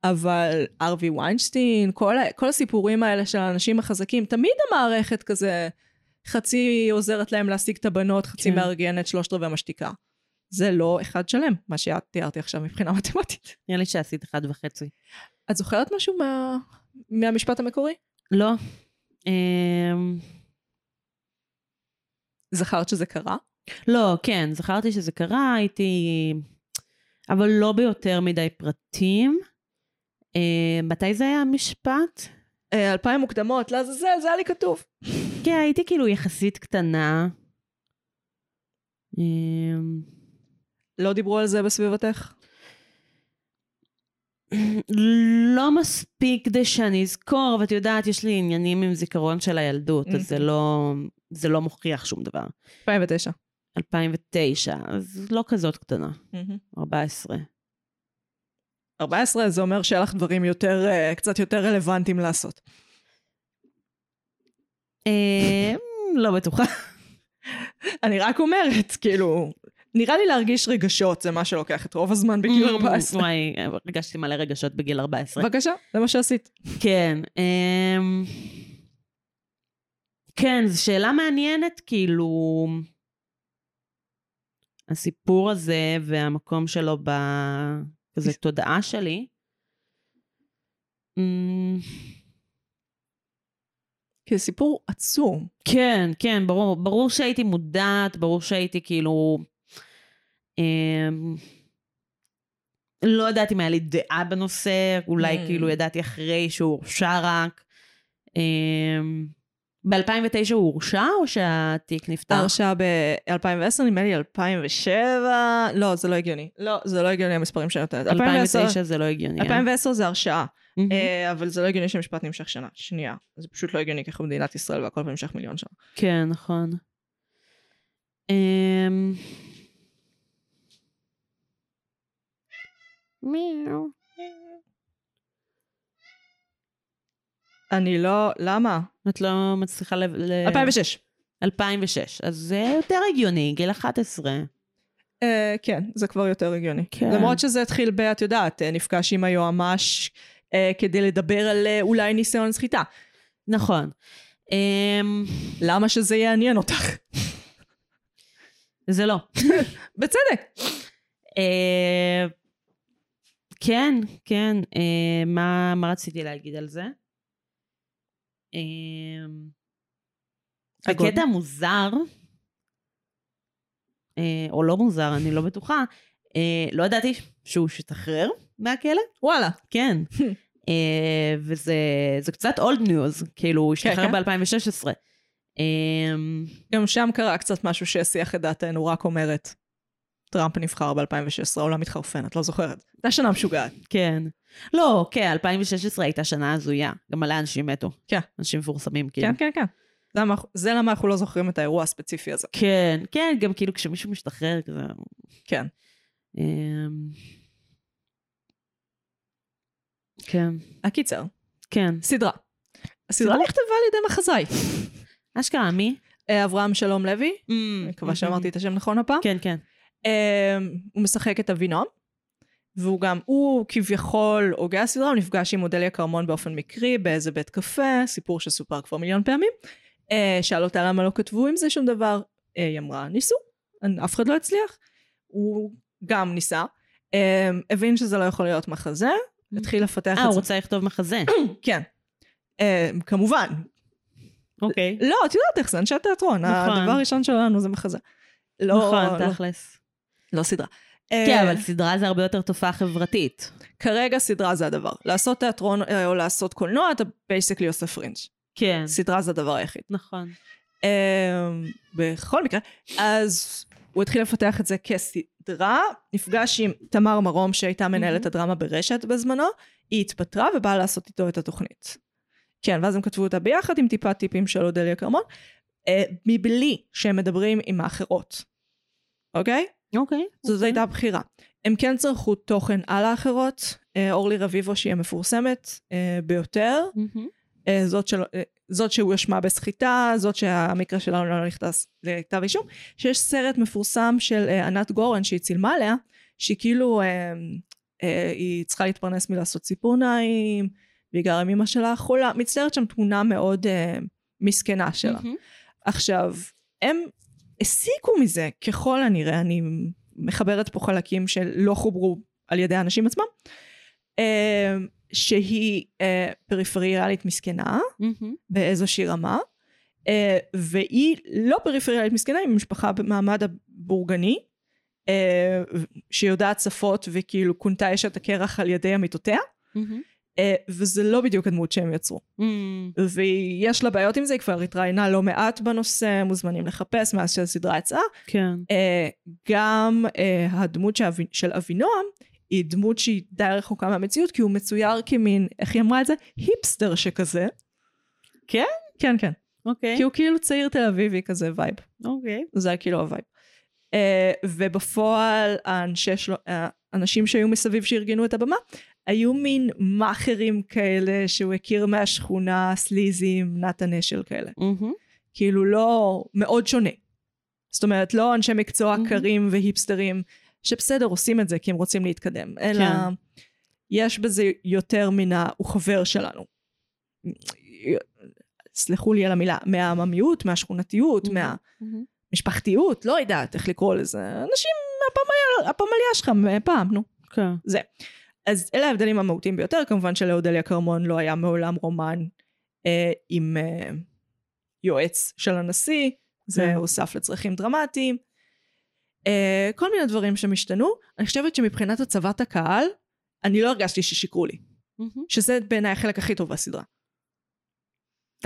אבל ארווי ויינשטיין, כל, ה- כל הסיפורים האלה של האנשים החזקים, תמיד המערכת כזה, חצי עוזרת להם להשיג את הבנות, חצי
כן.
כן. מארגנת, שלושת רבעי משתיקה. זה לא אחד שלם, מה שאת תיארתי עכשיו מבחינה מתמטית.
נראה לי שעשית אחד וחצי.
את זוכרת משהו מה... מהמשפט המקורי?
לא. אמ,
זכרת שזה קרה?
לא, כן, זכרתי שזה קרה, הייתי... אבל לא ביותר מדי פרטים. אה, מתי זה היה המשפט?
אה, אלפיים מוקדמות, לעזאזל, זה היה לי כתוב.
כן, הייתי כאילו יחסית קטנה. אמ,
לא דיברו על זה בסביבתך?
לא מספיק כדי שאני אזכור, ואת יודעת, יש לי עניינים עם זיכרון של הילדות, אז זה לא, זה לא מוכיח שום דבר.
2009.
2009, אז לא כזאת קטנה, 14.
14 זה אומר שהיה לך דברים יותר, אה, קצת יותר רלוונטיים לעשות.
אה, לא בטוחה.
אני רק אומרת, כאילו, נראה לי להרגיש רגשות זה מה שלוקח את רוב הזמן בגיל 14.
וואי, הרגשתי מלא רגשות בגיל 14.
בבקשה, זה מה שעשית.
כן. אמ... כן, זו שאלה מעניינת, כאילו... הסיפור הזה והמקום שלו ב... כזה תודעה שלי. אמ,
כי זה סיפור עצום.
כן, כן, ברור. ברור שהייתי מודעת, ברור שהייתי כאילו... אמ... לא ידעתי אם היה לי דעה בנושא, אולי
Mm.
mm. כאילו ידעתי אחרי שהוא הורשע רק. אמ... ב-2009 הוא הורשע או שהתיק נפתח?
ההרשעה ב-2010, נדמה לי 2007, לא, זה לא הגיוני. לא, זה לא הגיוני המספרים שאני נותנת. 2010
2009 זה לא הגיוני. אה?
2010 זה הרשעה,
מהמם.
אה, אבל זה לא הגיוני שהמשפט נמשך שנה. שנייה. זה פשוט לא הגיוני ככה במדינת ישראל והכל פה נמשך מיליון שנה.
כן, נכון. אמ... מיאו.
אני לא, למה? אה,
את לא מצליחה ל... ל-
2006.
2006, אז זה יותר הגיוני, גיל 11.
אה, כן, זה כבר יותר הגיוני.
כן.
למרות שזה התחיל ב, את יודעת, אה, נפגש עם היועמ"ש אה, כדי לדבר על אה, אולי ניסיון סחיטה.
נכון. אמ,
למה שזה יעניין אותך?
זה לא.
בצדק.
אה, כן, כן, אה, מה, מה רציתי להגיד על זה? אמ, זה
הגודל.
קטע מוזר, אה, או לא מוזר, אני לא בטוחה. אה, לא ידעתי שהוא השתחרר מהכלא.
וואלה.
כן. אה, וזה זה קצת אולד ניוז, כאילו הוא השתחרר
כן.
ב-2016. אה,
גם שם קרה קצת משהו שהסיח את דעתנו, רק אומרת, טראמפ נבחר ב-2016, העולם התחרפן, את לא זוכרת. זו הייתה שנה משוגעת.
כן. לא, כן, 2016 הייתה שנה הזויה. גם מלא אנשים מתו.
כן.
אנשים מפורסמים, כאילו.
כן, כן, כן. זה למה- זה למה אנחנו לא זוכרים את האירוע הספציפי הזה.
כן, כן, גם כאילו כשמישהו משתחרר כזה...
כן.
אמ, כן,
הקיצר,
כן.
סדרה. הסדרה
סדרה?
נכתבה על ידי מחזאי.
אשכרה, מי?
אה, אברהם שלום לוי, אני מקווה שאמרתי את השם נכון הפעם.
כן, אוקיי. כן.
אה, הוא משחק את אבינועם, והוא גם, הוא כביכול הוגה הסדרה, הוא נפגש עם אודליה כרמון באופן מקרי, באיזה בית קפה, סיפור שסופר כבר מיליון פעמים. אה, שאל אותה למה לא כתבו עם זה שום דבר, אה, היא אמרה, ניסו, אה, אף אחד לא הצליח. הוא גם ניסה, אה, הבין שזה לא יכול להיות מחזה, התחיל לפתח
אה,
את
הוא
זה.
רוצה לכתוב מחזה.
כן. אה, כמובן.
אוקיי.
לא, את יודעת איך זה, אנשי תיאטרון,
נכון.
הדבר הראשון שלנו זה מחזה. לא, לא,
נכון, תכלס.
לא סדרה.
כן,
אה,
אבל סדרה זה הרבה יותר תופעה חברתית.
כרגע סדרה זה הדבר. לעשות תיאטרון אה, או לעשות קולנוע, אתה בייסקלי עושה פרינג'.
כן.
סדרה זה הדבר היחיד.
נכון.
אמ, בכל מקרה, אז הוא התחיל לפתח את זה כסדרה, נפגש עם תמר מרום שהייתה מנהלת
מהמם.
הדרמה ברשת בזמנו, היא התפטרה ובאה לעשות איתו את התוכנית. כן, ואז הם כתבו אותה ביחד עם טיפה טיפים של אודליה כרמון, אה, מבלי שהם מדברים עם האחרות, אוקיי?
אוקיי.
זאת הייתה בחירה. הם כן צרכו תוכן על האחרות, אה, אורלי רביבו שהיא המפורסמת אה, ביותר,
מהמם.
אה, זאת, של, אה, זאת שהוא ישמע בסחיטה, זאת שהמקרה שלנו לא נכנס לכתב אישום, שיש סרט מפורסם של אה, ענת גורן שהיא צילמה עליה, שהיא כאילו, אה, אה, היא צריכה להתפרנס מלעשות ציפורניים, והיא גרה עם אמא שלה חולה, מצטיירת שם תמונה מאוד אה, מסכנה שלה.
מהמם.
עכשיו, הם הסיקו מזה, ככל הנראה, אני מחברת פה חלקים שלא חוברו על ידי האנשים עצמם, אה, שהיא אה, פריפריאלית מסכנה
מהמם.
באיזושהי רמה, אה, והיא לא פריפריאלית מסכנה, היא משפחה במעמד הבורגני, אה, שיודעת שפות וכאילו כונתה אשת הקרח על ידי עמיתותיה,
מהמם.
אה, וזה לא בדיוק הדמות שהם יצרו.
מהמם.
ויש לה בעיות עם זה, היא כבר התראיינה לא מעט בנושא, מוזמנים לחפש מאז שהסדרה יצאה.
כן.
אה, גם אה, הדמות של, אבי, של אבינועם היא דמות שהיא די רחוקה מהמציאות, כי הוא מצויר כמין, איך היא אמרה את זה? היפסטר שכזה.
כן?
כן, כן.
אוקיי.
כי הוא כאילו צעיר תל אביבי כזה וייב.
אוקיי.
זה היה כאילו הווייב. אה, ובפועל האנשי שלו, אה, האנשים שהיו מסביב שארגנו את הבמה היו מין מאכערים כאלה שהוא הכיר מהשכונה, סליזים, נתן אשל כאלה.
מהמם.
כאילו לא, מאוד שונה. זאת אומרת, לא אנשי מקצוע
Mhm.
קרים והיפסטרים, שבסדר, עושים את זה כי הם רוצים להתקדם, אלא
כן.
יש בזה יותר מן ה... הוא חבר שלנו. סלחו לי על המילה, מהעממיות, מהשכונתיות,
Mhm.
מה...
מהמם.
משפחתיות, לא יודעת איך לקרוא לזה, אנשים מהפמליה, הפמליה שלך מפעם, נו.
כן.
אז אלה ההבדלים המהותיים ביותר, כמובן שלאודליה כרמון לא היה מעולם רומן אה, עם אה, יועץ של הנשיא, זה
כן.
הוסף לצרכים דרמטיים. אה, כל מיני דברים שהם השתנו, אני חושבת שמבחינת הצבת הקהל, אני לא הרגשתי ששיקרו לי,
מהמם.
שזה בעיניי החלק הכי טוב בסדרה.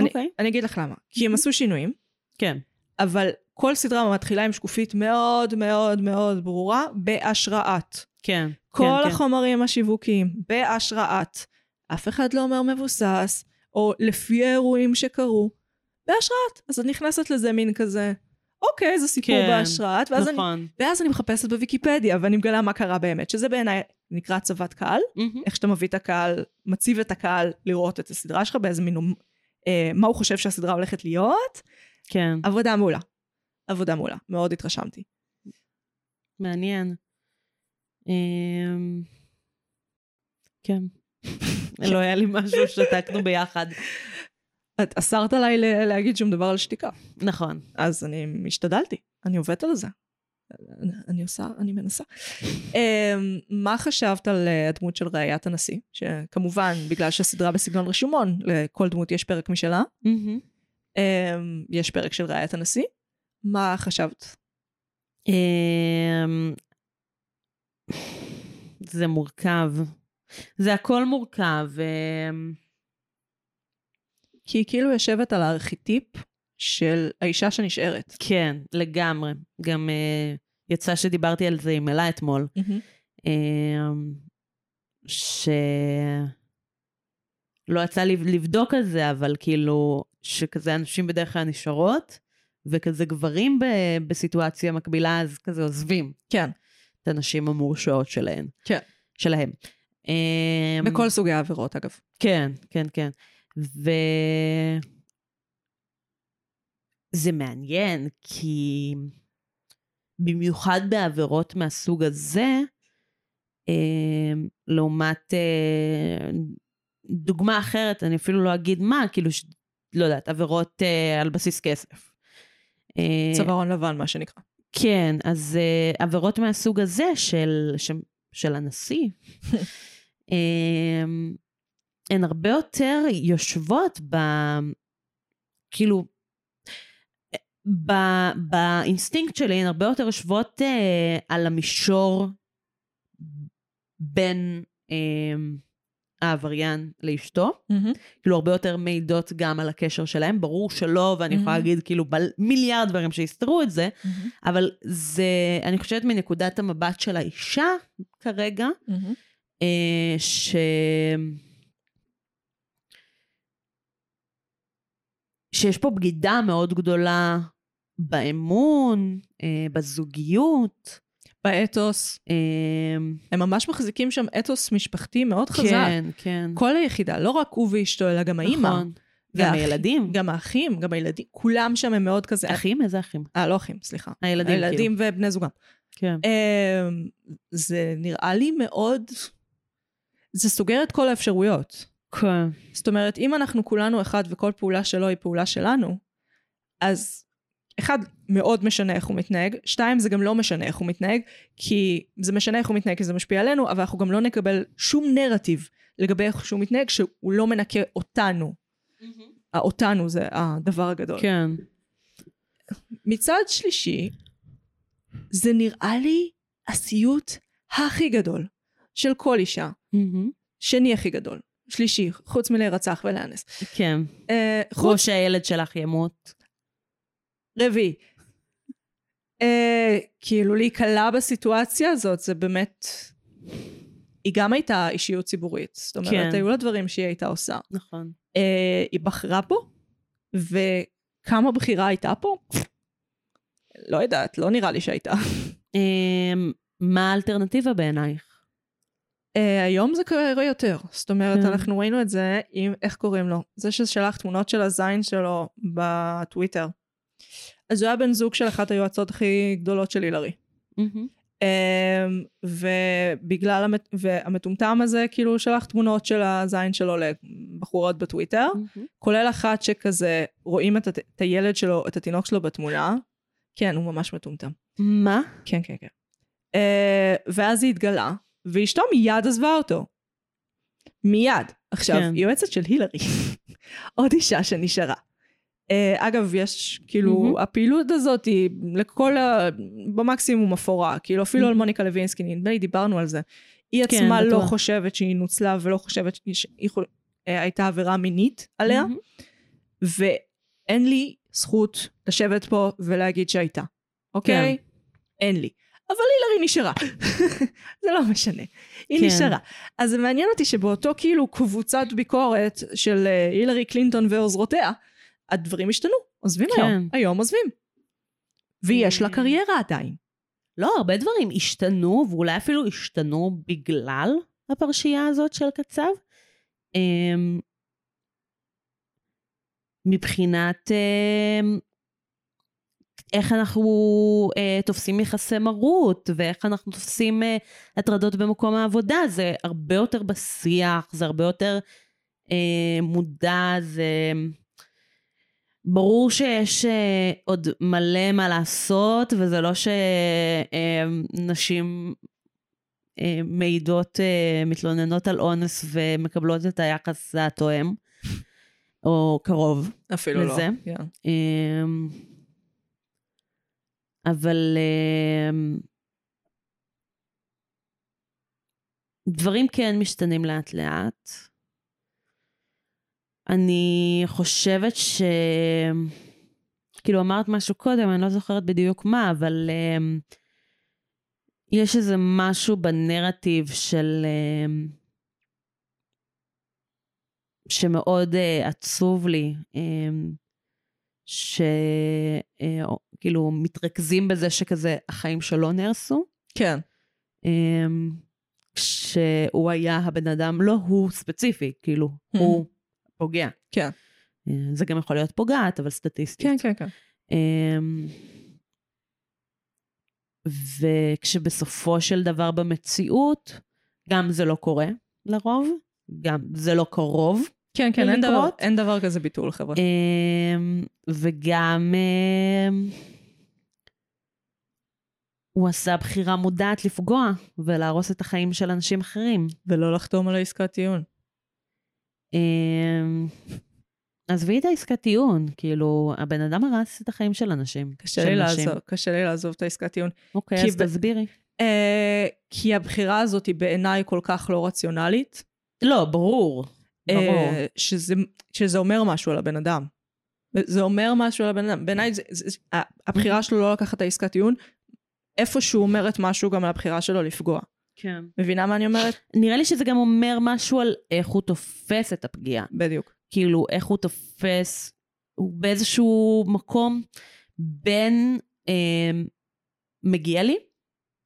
אוקיי.
אני אגיד לך למה, כי הם עשו שינויים,
כן.
אבל כל סדרה מתחילה עם שקופית מאוד מאוד מאוד ברורה, בהשראת.
כן.
כל
כן,
החומרים השיווקיים, בהשראת. אף אחד לא אומר מבוסס, או לפי האירועים שקרו, בהשראת. אז את נכנסת לזה מין כזה, אוקיי, זה סיפור
כן,
בהשראת, ואז,
כן.
אני,
נכון.
ואז אני מחפשת בוויקיפדיה, ואני מגלה מה קרה באמת, שזה בעיניי נקרא הצבת קהל,
מהמם.
איך שאתה מביא את הקהל, מציב את הקהל לראות את הסדרה שלך, באיזה מין, אה, מה הוא חושב שהסדרה הולכת להיות,
כן.
עבודה מעולה. עבודה מעולה. מאוד התרשמתי.
מעניין. אמ, כן. לא היה לי משהו שתקנו ביחד.
את אסרת עליי ל- להגיד שום דבר על שתיקה.
נכון.
אז אני השתדלתי. אני עובדת על זה. אני, אני עושה, אני מנסה. אמ, מה חשבת על אה, הדמות של ראיית הנשיא? שכמובן, בגלל שהסדרה בסגנון רשומון, לכל דמות יש פרק משלה. אמ, יש פרק של ראיית הנשיא. מה חשבת?
אמ, זה מורכב. זה הכל מורכב. אמ,
כי היא כאילו יושבת על הארכיטיפ של האישה שנשארת.
כן, לגמרי. גם אה, יצא שדיברתי על זה עם אלה אתמול. אמ, ש... לא יצא לי לבדוק על זה, אבל כאילו, שכזה אנשים בדרך כלל נשארות, וכזה גברים ב... בסיטואציה מקבילה, אז כזה עוזבים
כן,
את הנשים המורשעות שלהן.
כן.
שלהם. אמ,
בכל סוגי העבירות אגב.
כן, כן, כן. ו... זה מעניין, כי במיוחד בעבירות מהסוג הזה, אה, לעומת אה, דוגמה אחרת, אני אפילו לא אגיד מה, כאילו, ש... לא יודעת, עבירות אה, על בסיס כסף. אה,
צווארון לבן, מה שנקרא.
כן, אז uh, עבירות מהסוג הזה של, של, של הנשיא, um, הן הרבה יותר יושבות ב... כאילו, ב, באינסטינקט שלי, הן הרבה יותר יושבות uh, על המישור בין um, העבריין לאשתו. כאילו הרבה יותר מעידות גם על הקשר שלהם, ברור שלא, ואני יכולה
Mhm.
להגיד כאילו בל- מיליארד דברים שיסתרו את זה, אבל זה, אני חושבת מנקודת המבט של האישה כרגע, אה, ש... שיש פה בגידה מאוד גדולה באמון, אה, בזוגיות.
באתוס,
אה,
הם ממש מחזיקים שם אתוס משפחתי מאוד חזק.
כן, כן.
כל היחידה, לא רק הוא ואשתו, אלא גם האימא.
נכון. גם
והאח-
הילדים.
גם האחים, גם הילדים, כולם שם הם מאוד כזה...
אחים? איזה אחים?
אה, לא אחים, סליחה.
הילדים, כאילו.
הילדים ובני זוגם.
כן.
אמ, זה נראה לי מאוד... זה סוגר את כל האפשרויות.
כן.
זאת אומרת, אם אנחנו כולנו אחד וכל פעולה שלו היא פעולה שלנו, אז אחד, מאוד משנה איך הוא מתנהג, שתיים, זה גם לא משנה איך הוא מתנהג, כי זה משנה איך הוא מתנהג כי זה משפיע עלינו, אבל אנחנו גם לא נקבל שום נרטיב לגבי איך שהוא מתנהג, שהוא לא מנקה אותנו. אותנו זה הדבר הגדול.
כן.
מצד שלישי, זה נראה לי הסיוט הכי גדול של כל אישה,
מהמם.
שני הכי גדול, שלישי, חוץ מלהירצח ולאנס.
כן.
אה, חוץ
או שהילד שלך ימות.
רביעי. אה, כאילו להיקלע בסיטואציה הזאת זה באמת היא גם הייתה אישיות ציבורית. זאת אומרת,
כן.
היו לה דברים שהיא הייתה עושה.
נכון.
אה, היא בחרה פה, וכמה בחירה הייתה פה? לא יודעת, לא נראה לי שהייתה.
אמ, מה האלטרנטיבה בעינייך?
אה, היום זה קורה יותר. זאת אומרת,
כן.
אנחנו ראינו את זה עם, איך קוראים לו? זה ששלח תמונות של הזין שלו בטוויטר. אז הוא היה בן זוג של אחת היועצות הכי גדולות של הילרי.
מהמם.
אמ, ובגלל, המת... והמטומטם הזה, כאילו, הוא שלח תמונות של הזין שלו לבחורות בטוויטר,
מהמם.
כולל אחת שכזה, רואים את, הת... את הילד שלו, את התינוק שלו בתמונה. כן, הוא ממש מטומטם.
מה?
כן, כן, כן. Uh, ואז היא התגלה, ואשתו מיד עזבה אותו. מיד. עכשיו,
כן.
כן. יועצת של הילרי. עוד אישה שנשארה. Uh, אגב, יש, כאילו,
מהמם.
mm-hmm. הפעילות הזאת היא לכל ה... במקסימום אפורה. כאילו, אפילו mm-hmm. על
מהמם.
מוניקה לוינסקי, נדמה לי, דיברנו על זה. היא
כן,
עצמה לא
בטוח.
חושבת שהיא נוצלה ולא חושבת שהיא חו- אה, הייתה עבירה מינית עליה,
מהמם.
ואין לי זכות לשבת פה ולהגיד שהייתה, אוקיי? אין לי. אבל הילרי נשארה. זה לא משנה. היא
כן.
נשארה. אז זה מעניין אותי שבאותו כאילו קבוצת ביקורת של אה, הילרי קלינטון ועוזרותיה, הדברים השתנו, עוזבים
כן.
היום. היום עוזבים. ויש לה
אה.
קריירה עדיין.
לא, הרבה דברים השתנו, ואולי אפילו השתנו בגלל הפרשייה הזאת של קצב. אמ, מבחינת אמ, איך אנחנו אה, תופסים יחסי מרות, ואיך אנחנו תופסים אה, הטרדות במקום העבודה, זה הרבה יותר בשיח, זה הרבה יותר אה, מודע, זה... ברור שיש אה, עוד מלא מה לעשות, וזה לא שנשים אה, מעידות, אה, מתלוננות על אונס ומקבלות את היחס התואם, או קרוב.
אפילו
לא. לזה? אה, אבל אה, דברים כן משתנים לאט לאט. אני חושבת ש... כאילו אמרת משהו קודם, אני לא זוכרת בדיוק מה, אבל אמ, יש איזה משהו בנרטיב של... אמ, שמאוד אה, עצוב לי, אמ, שכאילו אה, כאילו, מתרכזים בזה שכזה החיים שלו נהרסו.
כן.
אמ, כשהוא היה הבן אדם, לא הוא ספציפי, כאילו,
Mhm.
הוא פוגע.
כן.
אה, זה גם יכול להיות פוגעת, אבל סטטיסטית.
כן, כן, כן.
אמ, וכשבסופו של דבר במציאות, גם זה לא קורה לרוב, גם זה לא קרוב,
כן, כן, אין אה. דבר,
לקרות.
אין דבר כזה ביטול, חבר'ה.
אמ, וגם אמ, הוא עשה בחירה מודעת לפגוע ולהרוס את החיים של אנשים אחרים.
ולא לחתום על העסקת טיעון.
אמ, עזבי את העסקת טיעון, כאילו, הבן אדם הרס את החיים של אנשים.
קשה
של
לי,
נשים.
לעזוב, קשה לי לעזוב את העסקת טיעון.
אוקיי,
כי
אז
ב-
תסבירי.
אה, כי הבחירה הזאת היא בעיניי כל כך לא רציונלית,
לא, ברור. ברור.
אה, שזה, שזה אומר משהו על הבן אדם. זה אומר משהו על הבן אדם. בעיניי זה- זה- זה- ה- הבחירה שלו לא לקחת את העסקת טיעון, איפשהו אומרת משהו גם על הבחירה שלו לפגוע.
כן.
מבינה מה אני אומרת?
נראה לי שזה גם אומר משהו על איך הוא תופס את הפגיעה.
בדיוק.
כאילו, איך הוא תופס, הוא באיזשהו מקום בין אה, מגיע לי,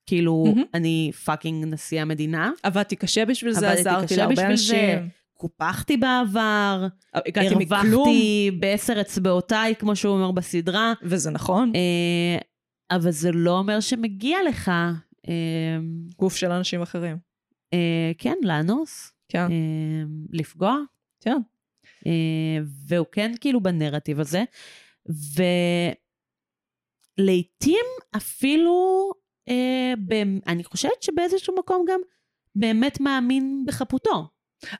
כאילו,
מהמם.
אני פאקינג נשיא המדינה,
עבדתי קשה בשביל זה,
עבדתי
עזרתי
קשה
להרבה
בשביל זה.
אנשים.
קופחתי בעבר,
הגעתי מכלום,
הרווחתי בעשר אצבעותיי, כמו שהוא אומר בסדרה,
וזה נכון,
אה, אבל זה לא אומר שמגיע לך, אה,
גוף של אנשים אחרים.
אה, כן, לאנוס,
כן.
אה, לפגוע.
כן.
אה, והוא כן כאילו בנרטיב הזה, ולעיתים אפילו, אה, במ... אני חושבת שבאיזשהו מקום גם באמת מאמין בחפותו.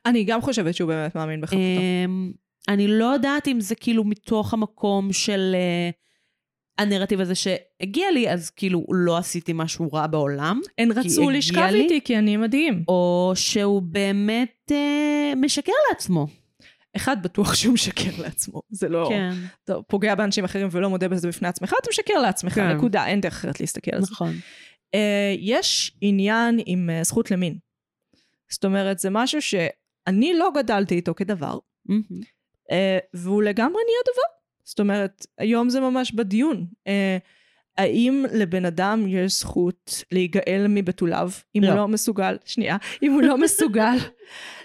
אני גם חושבת שהוא באמת מאמין בחפותו.
אמ, אני לא יודעת אם זה כאילו מתוך המקום של אה, הנרטיב הזה שהגיע לי, אז כאילו לא עשיתי משהו רע בעולם,
הן רצו
הגיע
לשכב
לי-
איתי כי אני מדהים.
או שהוא באמת אה, משקר לעצמו.
אחד, בטוח שהוא משקר לעצמו. זה לא...
כן.
אתה פוגע באנשים אחרים ולא מודה בזה בפני עצמך, אתה משקר לעצמך,
כן.
נקודה. אין דרך אחרת להסתכל על זה.
נכון.
אה, יש עניין עם אה, זכות למין. זאת אומרת, זה משהו שאני לא גדלתי איתו כדבר,
מהמם.
אה, והוא לגמרי נהיה דבר. זאת אומרת, היום זה ממש בדיון. אה, האם לבן אדם יש זכות להיגאל מבתוליו, אם הוא
לא.
לא מסוגל, שנייה, אם הוא לא מסוגל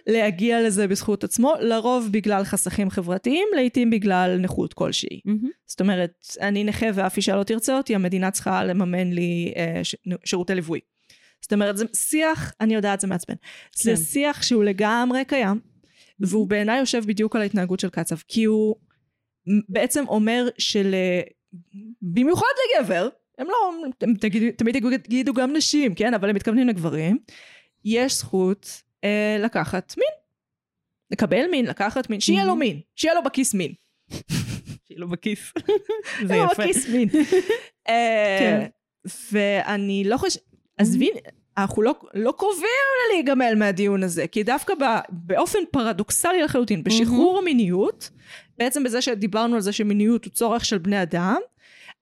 להגיע לזה בזכות עצמו, לרוב בגלל חסכים חברתיים, לעתים בגלל נכות כלשהי.
מהמם.
זאת אומרת, אני נכה ואף אישה לא תרצה אותי, המדינה צריכה לממן לי אה, ש... נו, שירותי ליווי. זאת אומרת, זה שיח, אני יודעת, זה מעצבן.
כן.
זה שיח שהוא לגמרי קיים, והוא בעיניי יושב בדיוק על ההתנהגות של קצב, כי הוא בעצם אומר של... אה, במיוחד לגבר, הם לא, הם תגידו, תמיד יגידו גם נשים, כן? אבל הם מתכוונים לגברים, יש זכות אה, לקחת מין. לקבל מין, לקחת מין, שיהיה לו
מהמם.
מין, שיהיה לו בכיס מין.
שיהיה לו לא בכיס. זה
לא,
יפה.
בכיס מין. אה,
כן. Mm-hmm.
ואני לא חושבת, עזבי, אנחנו לא, לא קרובים להיגמל מהדיון הזה, כי דווקא ב, באופן פרדוקסלי לחלוטין,
Mm-hmm.
בשחרור המיניות, בעצם בזה שדיברנו על זה שמיניות הוא צורך של בני אדם,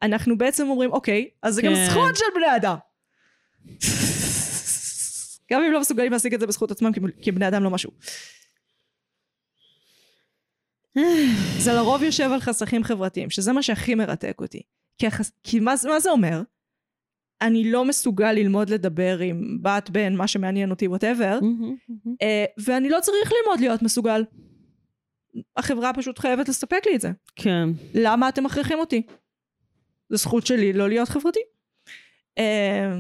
אנחנו בעצם אומרים, אוקיי, אז זה גם
כן.
זכות של בני אדם. גם אם לא מסוגלים להשיג את זה בזכות עצמם, כי- כי בני אדם לא משהו. זה לרוב יושב על חסכים חברתיים, שזה מה שהכי מרתק אותי. כי, החס... כי מה, זה- מה זה אומר? אני לא מסוגל ללמוד לדבר עם בת, בן, מה שמעניין אותי, וואטאבר,
מהמם, מהמם.
ואני לא צריך ללמוד להיות מסוגל. החברה פשוט חייבת לספק לי את זה.
כן.
למה אתם מכריחים אותי? זו זכות שלי לא להיות חברתי. אה,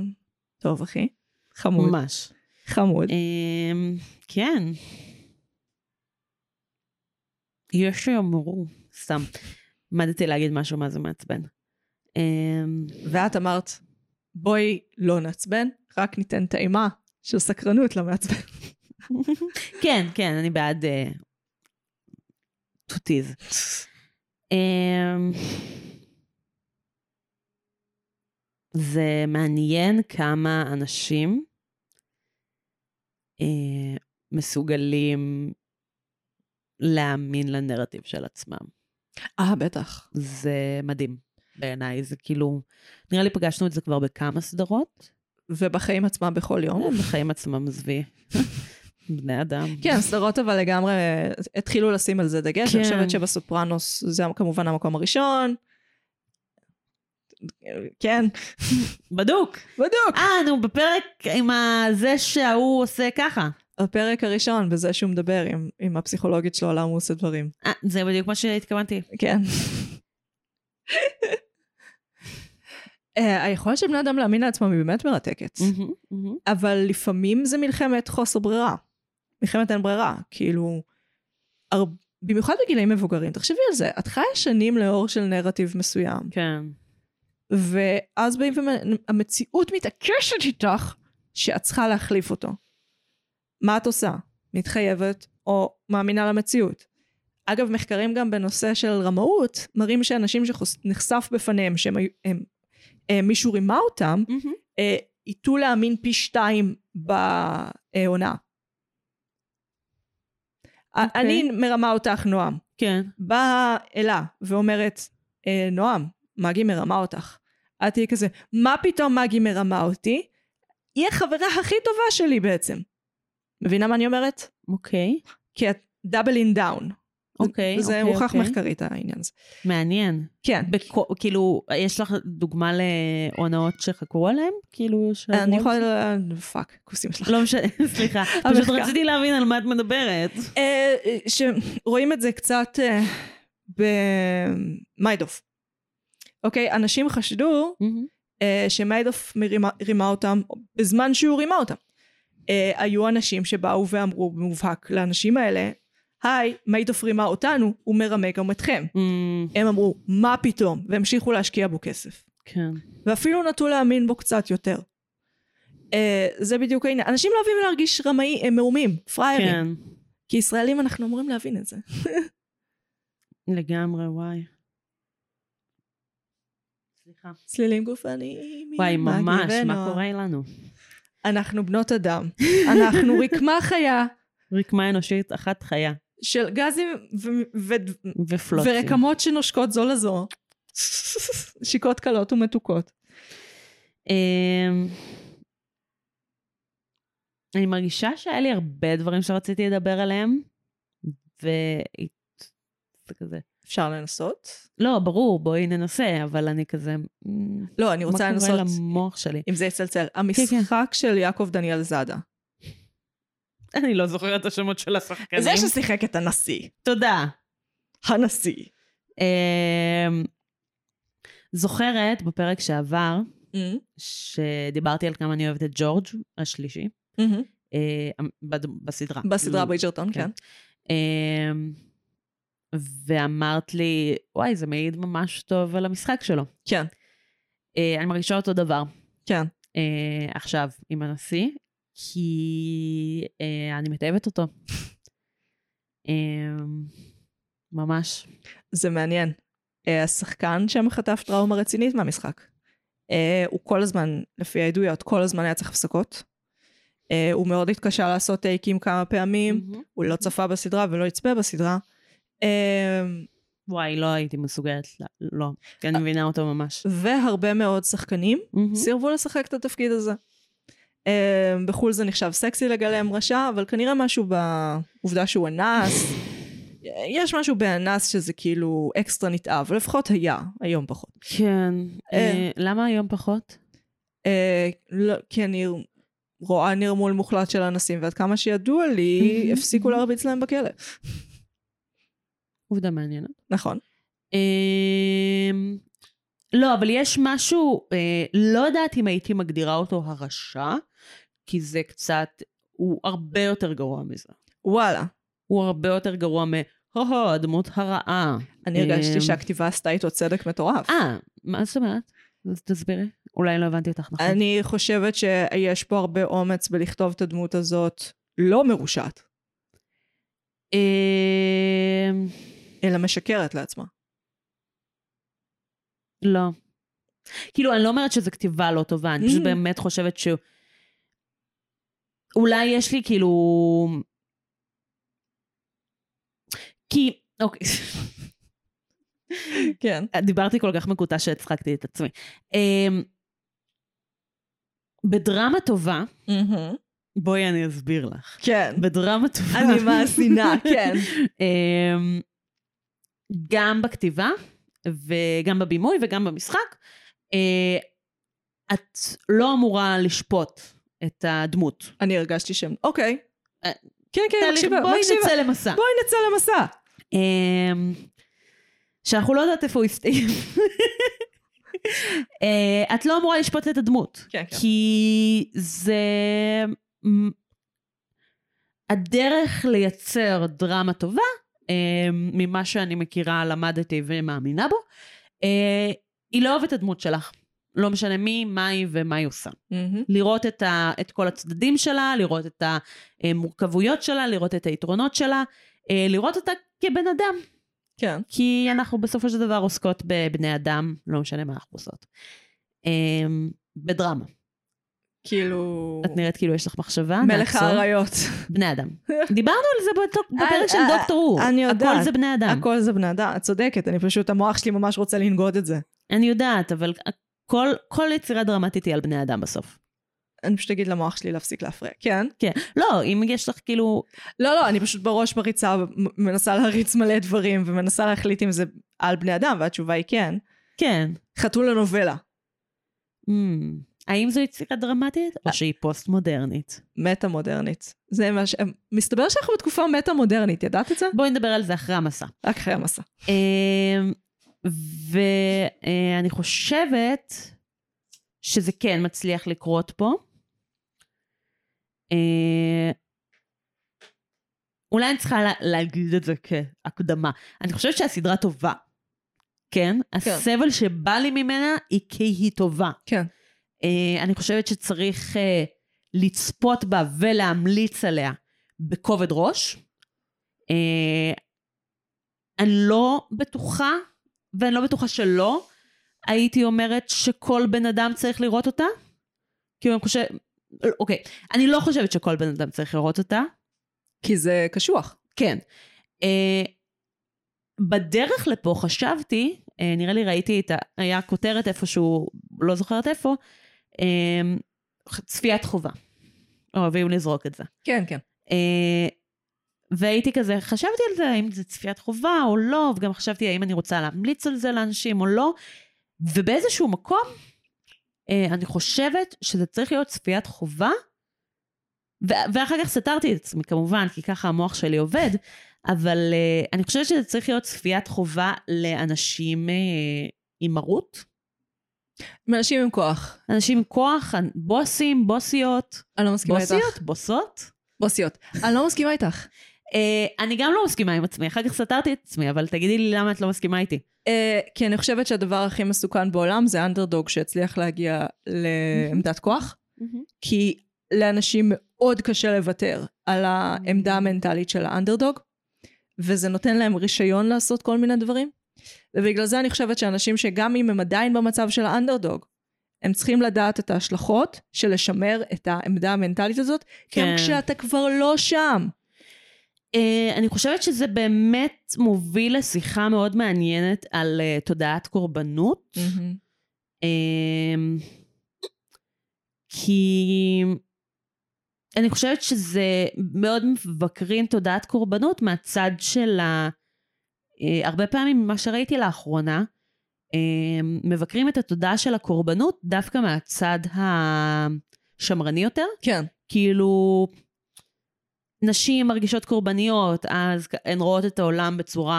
טוב, אחי. חמוד.
ממש.
חמוד.
אמ, כן. יש שיאמרו, סתם. עמדתי להגיד משהו מה זה מעצבן. אמ,
ואת אמרת, בואי לא נעצבן, רק ניתן טעימה של סקרנות למעצבן.
כן, כן, אני בעד אה, תותיז. אמ, זה מעניין כמה אנשים אה, מסוגלים להאמין לנרטיב של עצמם.
אה, בטח.
זה מדהים בעיניי, זה כאילו, נראה לי פגשנו את זה כבר בכמה סדרות,
ובחיים עצמם בכל יום.
בחיים עצמם עזבי, בני אדם.
כן, סדרות אבל לגמרי אה, התחילו לשים על זה דגש.
כן.
אני חושבת שבסופרנוס זה כמובן המקום הראשון. כן,
בדוק.
בדיוק.
אה, נו, בפרק עם ה- זה שההוא עושה ככה.
הפרק הראשון בזה שהוא מדבר עם, עם הפסיכולוגית שלו על למה הוא עושה דברים.
אה, זה בדיוק מה שהתכוונתי.
כן. אה, היכולת של בני אדם להאמין לעצמם היא באמת מרתקת. אבל לפעמים זה מלחמת חוסר ברירה. מלחמת אין ברירה. כאילו, הר... במיוחד בגילאים מבוגרים, תחשבי על זה, את חיה שנים לאור של נרטיב מסוים,
כן.
ואז באים והמציאות מתעקשת איתך שאת צריכה להחליף אותו. מה את עושה? מתחייבת או מאמינה למציאות? אגב, מחקרים גם בנושא של רמאות, מראים שאנשים שנחשף בפניהם שהם היו- הם, אה, מישהו רימה אותם, אה, ייטו להאמין פי שתיים בהונאה.
אוקיי.
אני מרמה אותך, נועם.
כן.
באה אלה ואומרת, אה, נועם, מגי מרמה אותך. את תהיי כזה, מה פתאום מגי מרמה אותי? היא החברה הכי טובה שלי בעצם. מבינה מה אני אומרת?
אוקיי.
כי את דאבל אין דאון.
אוקיי.
זה
אוקיי,
הוכח
אוקיי.
מחקרית העניין הזה.
מעניין.
כן.
בכו- כאילו, יש לך דוגמה להונאות שחקרו עליהם? כאילו, שעברו
אני
על
יכולה...
זה?
פאק, כוסים שלך.
לא משנה, סליחה. פשוט
המחקר.
רציתי להבין על מה את מדברת.
אה, אה, שרואים את זה קצת אה, במיידוף. אוקיי, אנשים חשדו אה, שמיידוף מרימה- רימה אותם בזמן שהוא רימה אותם. אה, היו אנשים שבאו ואמרו במובהק לאנשים האלה, היי, מיידוף רימה אותנו, הוא מרמה גם אתכם.
אמ,
הם אמרו, מה פתאום, והמשיכו להשקיע בו כסף.
כן.
ואפילו נטו להאמין בו קצת יותר. אה, זה בדיוק העניין. אנשים לא אוהבים להרגיש רמאי, הם מאומים, פראיירים.
כן.
כי ישראלים אנחנו אמורים להבין את זה.
לגמרי, וואי. סליחה.
צלילים גופניים.
וואי,
עם מגי
ממש, מה
ונועה.
קורה לנו?
אנחנו בנות אדם. אנחנו רקמה חיה
רקמה אנושית אחת חיה,
של גזים ו- ו-
ופלוטים.
ורקמות שנושקות זו לזו. שיקות קלות ומתוקות.
אמ, אני מרגישה שהיה לי הרבה דברים שרציתי לדבר עליהם, ו... זה כזה.
אפשר לנסות?
לא, ברור, בואי ננסה, אבל אני כזה... "מ,
לא, אני רוצה
מה
לנסות,
קורה כן, למוח שלי?
אם זה יצלצל. המשחק של יעקב דניאל זאדה.
אני לא זוכרת את השמות של השחקנים.
זה ששיחק את הנשיא.
תודה.
הנשיא.
אמ, זוכרת בפרק שעבר, שדיברתי על כמה אני אוהבת את ג'ורג' השלישי, אה, בד- בסדרה.
בסדרה
כאילו,
בייג'רטון, כן.
כן. אמ, ואמרת לי, וואי, זה מעיד ממש טוב על המשחק שלו.
כן,
אה, אני מרגישה אותו דבר
כן.
אה, עכשיו עם הנשיא, כי אה, אני מתעבת אותו. אמ, ממש.
זה מעניין. אה, השחקן שם חטף טראומה רצינית מהמשחק. אה, הוא כל הזמן, לפי העדויות, כל הזמן היה צריך הפסקות. אה, הוא מאוד התקשה לעשות טייקים כמה
Mm.
פעמים, הוא לא צפה בסדרה ולא יצפה בסדרה. אה,
וואי, לא הייתי מסוגלת, ל- לא. כי אני מבינה אותו ממש.
והרבה מאוד שחקנים
Mm.
סירבו לשחק את התפקיד הזה. אה, בחו"ל זה נחשב סקסי לגלם רשע, אבל כנראה משהו בעובדה שהוא אנס. יש משהו באנס שזה כאילו אקסטרה נתעב, לפחות היה, היום פחות.
כן.
אה.
אה, למה היום פחות?
אה, לא, כי אני רואה נרמול מוחלט של אנסים, ועד כמה שידוע לי,
Mhm.
הפסיקו להרביץ להם בכלא.
עובדה מעניינת.
נכון.
אמ, לא, אבל יש משהו, אה, לא יודעת אם הייתי מגדירה אותו הרשע, כי זה קצת, הוא הרבה יותר גרוע מזה.
וואלה.
הוא הרבה יותר גרוע מ... הו-הו, הדמות הרעה.
אני הרגשתי
אמ,
שהכתיבה עשתה איתו צדק מטורף.
אה, מה זאת אומרת? אז תסבירי. אולי לא הבנתי אותך נכון.
אני חושבת שיש פה הרבה אומץ בלכתוב את הדמות הזאת לא מרושעת,
אמ,
אלא משקרת לעצמה.
לא. כאילו, אני לא אומרת שזו כתיבה לא טובה, אני
Mm.
פשוט באמת חושבת ש... אולי יש לי כאילו... כי... אוקיי.
כן.
דיברתי כל כך מקוטע שהצחקתי את עצמי. אמ, בדרמה טובה, בואי אני אסביר לך.
כן.
בדרמה טובה...
אני מאזינה, כן.
אמ, גם בכתיבה, וגם בבימוי, וגם במשחק, אה, את לא אמורה לשפוט את הדמות.
אני הרגשתי שהם, אוקיי.
אה,
כן, כן,
תהליך,
מקשיבה,
בואי
מקשיבה.
נצא למסע.
בואי נצא למסע.
אמ, שאנחנו לא יודעת איפה הוא הסתיים. אה, את לא אמורה לשפוט את הדמות.
כן, כן.
כי זה... מ- הדרך לייצר דרמה טובה, אה, ממה שאני מכירה, למדתי ומאמינה בו, אה, היא לאהוב את הדמות שלך. לא משנה מי, מה היא ומה היא עושה.
מהמם.
לראות את, ה, את כל הצדדים שלה, לראות את המורכבויות שלה, לראות את היתרונות שלה, אה, לראות אותה כבן אדם.
כן.
כי אנחנו בסופו של דבר עוסקות בבני אדם, לא משנה מה אנחנו עושות. אה, בדרמה.
כאילו...
את נראית כאילו יש לך מחשבה,
מלך
נעצור.
האריות.
בני אדם. דיברנו על זה באותו- בפרק של
אה, אה,
דוקטור הוא.
אני יודעת.
הכל זה בני אדם.
הכל זה בני אדם, את צודקת, אני פשוט, המוח שלי ממש רוצה לנגוד את זה.
אני יודעת, אבל כל- כל יצירה דרמטית היא על בני אדם בסוף.
אני פשוט אגיד למוח שלי להפסיק להפריע. כן?
כן. לא, אם יש לך כאילו...
לא, לא, אני פשוט בראש מריצה, מ- מנסה להריץ מלא דברים, ומנסה להחליט אם זה על בני אדם, והתשובה היא כן.
כן.
חתול הנובלה.
אמ, האם זו יצירה דרמטית
אה.
או שהיא פוסט-מודרנית?
מטה מודרנית. זה מה ש... מסתבר שאנחנו בתקופה מטה מודרנית, ידעת את זה?
בואי נדבר על זה אחרי המסע. אמ,
רק אחרי המסע.
ואני חושבת שזה כן מצליח לקרות פה. אה, אולי אני צריכה לה- להגיד את זה כהקדמה. אני חושבת שהסדרה טובה. כן? הסבל שבא לי ממנה היא כי היא טובה.
כן.
אה, אני חושבת שצריך אה, לצפות בה ולהמליץ עליה בכובד ראש. אה, אני לא בטוחה, ואני לא בטוחה שלא, הייתי אומרת שכל בן אדם צריך לראות אותה. כאילו אני חושבת, אוקיי, אני לא חושבת שכל בן אדם צריך לראות אותה.
כי זה קשוח.
כן. אה, בדרך לפה חשבתי, אה, נראה לי ראיתי את ה... היה כותרת איפשהו, לא זוכרת איפה, אה, צפיית חובה. אוהבים לזרוק את זה.
כן, כן.
אה, והייתי כזה, חשבתי על זה, האם זה צפיית חובה או לא, וגם חשבתי האם אני רוצה להמליץ על זה לאנשים או לא, ובאיזשהו מקום, אה, אני חושבת שזה צריך להיות צפיית חובה, ו- ואחר כך סתרתי את עצמי כמובן, כי ככה המוח שלי עובד, אבל אה, אני חושבת שזה צריך להיות צפיית חובה לאנשים אה, עם מרות,
אנשים עם כוח.
אנשים עם כוח, אנ- בוסים, בוסיות,
אני לא מסכימה איתך.
בוסיות, בוסות.
בוסיות. אני לא מסכימה איתך.
אה, אני גם לא מסכימה עם עצמי, אחר כך סתרתי את עצמי, אבל תגידי לי למה את לא מסכימה איתי.
אה, כי אני חושבת שהדבר הכי מסוכן בעולם זה אנדרדוג שהצליח להגיע לעמדת כוח, כי לאנשים מאוד קשה לוותר על העמדה המנטלית של האנדרדוג, וזה נותן להם רישיון לעשות כל מיני דברים. ובגלל זה אני חושבת שאנשים שגם אם הם עדיין במצב של האנדרדוג, הם צריכים לדעת את ההשלכות של לשמר את העמדה המנטלית הזאת, כן.
כן.
גם כשאתה כבר לא שם.
אה, אני חושבת שזה באמת מוביל לשיחה מאוד מעניינת על אה, תודעת קורבנות. אמ, כי אני חושבת שזה מאוד מבקרים תודעת קורבנות מהצד של ה... אה, הרבה פעמים ממה שראיתי לאחרונה, אמ, מבקרים את התודעה של הקורבנות דווקא מהצד השמרני יותר.
כן.
כאילו, נשים מרגישות קורבניות, אז הן רואות את העולם בצורה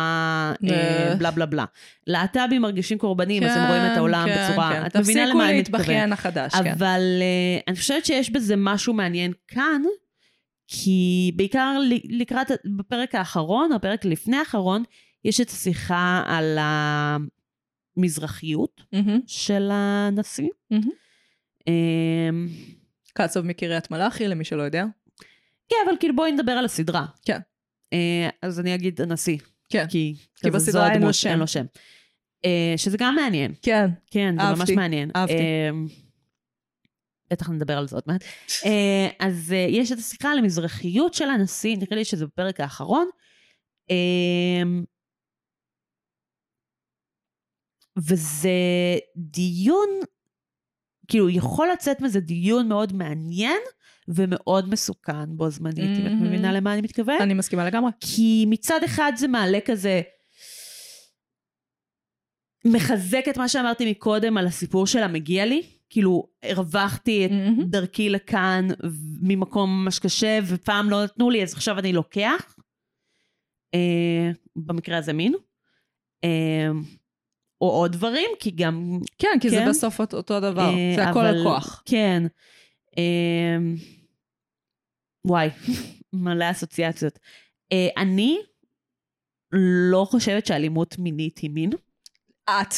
אה,
אה. כן,
בלה בלה בלה. להט"בים מרגישים קורבנים, אז הם רואים את העולם בצורה... את מבינה למה אני
תפסיקו
מתכוונת.
להתבכיין החדש, כן.
אבל אה, אני חושבת שיש בזה משהו מעניין כאן, כי בעיקר ל- לקראת, בפרק האחרון, או הפרק לפני האחרון, יש את השיחה על המזרחיות
מהמם.
של הנשיא.
מהמם.
אמ,
קצוב מקריית מלאכי, למי שלא יודע.
כן, אבל כאילו בואי נדבר על הסדרה.
כן.
אה, אז אני אגיד הנשיא.
כן.
כי,
כי
כזה, זו
בסדרה אין לו
הדמות,
שם.
אין לו שם. אה, שזה גם מעניין.
כן.
כן, זה ממש
אהבתי,
מעניין.
אהבתי.
אה, בטח נדבר על זה עוד מעט. אה, אז אה, יש את השיחה על המזרחיות של הנשיא, נראה לי שזה בפרק האחרון. אה, וזה דיון, כאילו, יכול לצאת מזה דיון מאוד מעניין ומאוד מסוכן בו זמנית, אם את
מהמם.
מבינה למה אני מתכוונת.
אני מסכימה לגמרי.
כי מצד אחד זה מעלה כזה... מחזק את מה שאמרתי מקודם על הסיפור של המגיע לי. כאילו, הרווחתי את
מהמם.
דרכי לכאן ו- ממקום ממש קשה, ופעם לא נתנו לי, אז עכשיו אני לוקח. אה, במקרה הזה מין. אה, או עוד דברים, כי גם...
כן, כי זה
כן.
בסוף אותו- אותו דבר.
אה,
זה הכל
אבל-
על כוח.
כן. אה, וואי, מלא אסוציאציות. אה, אני לא חושבת שאלימות מינית היא מין.
את.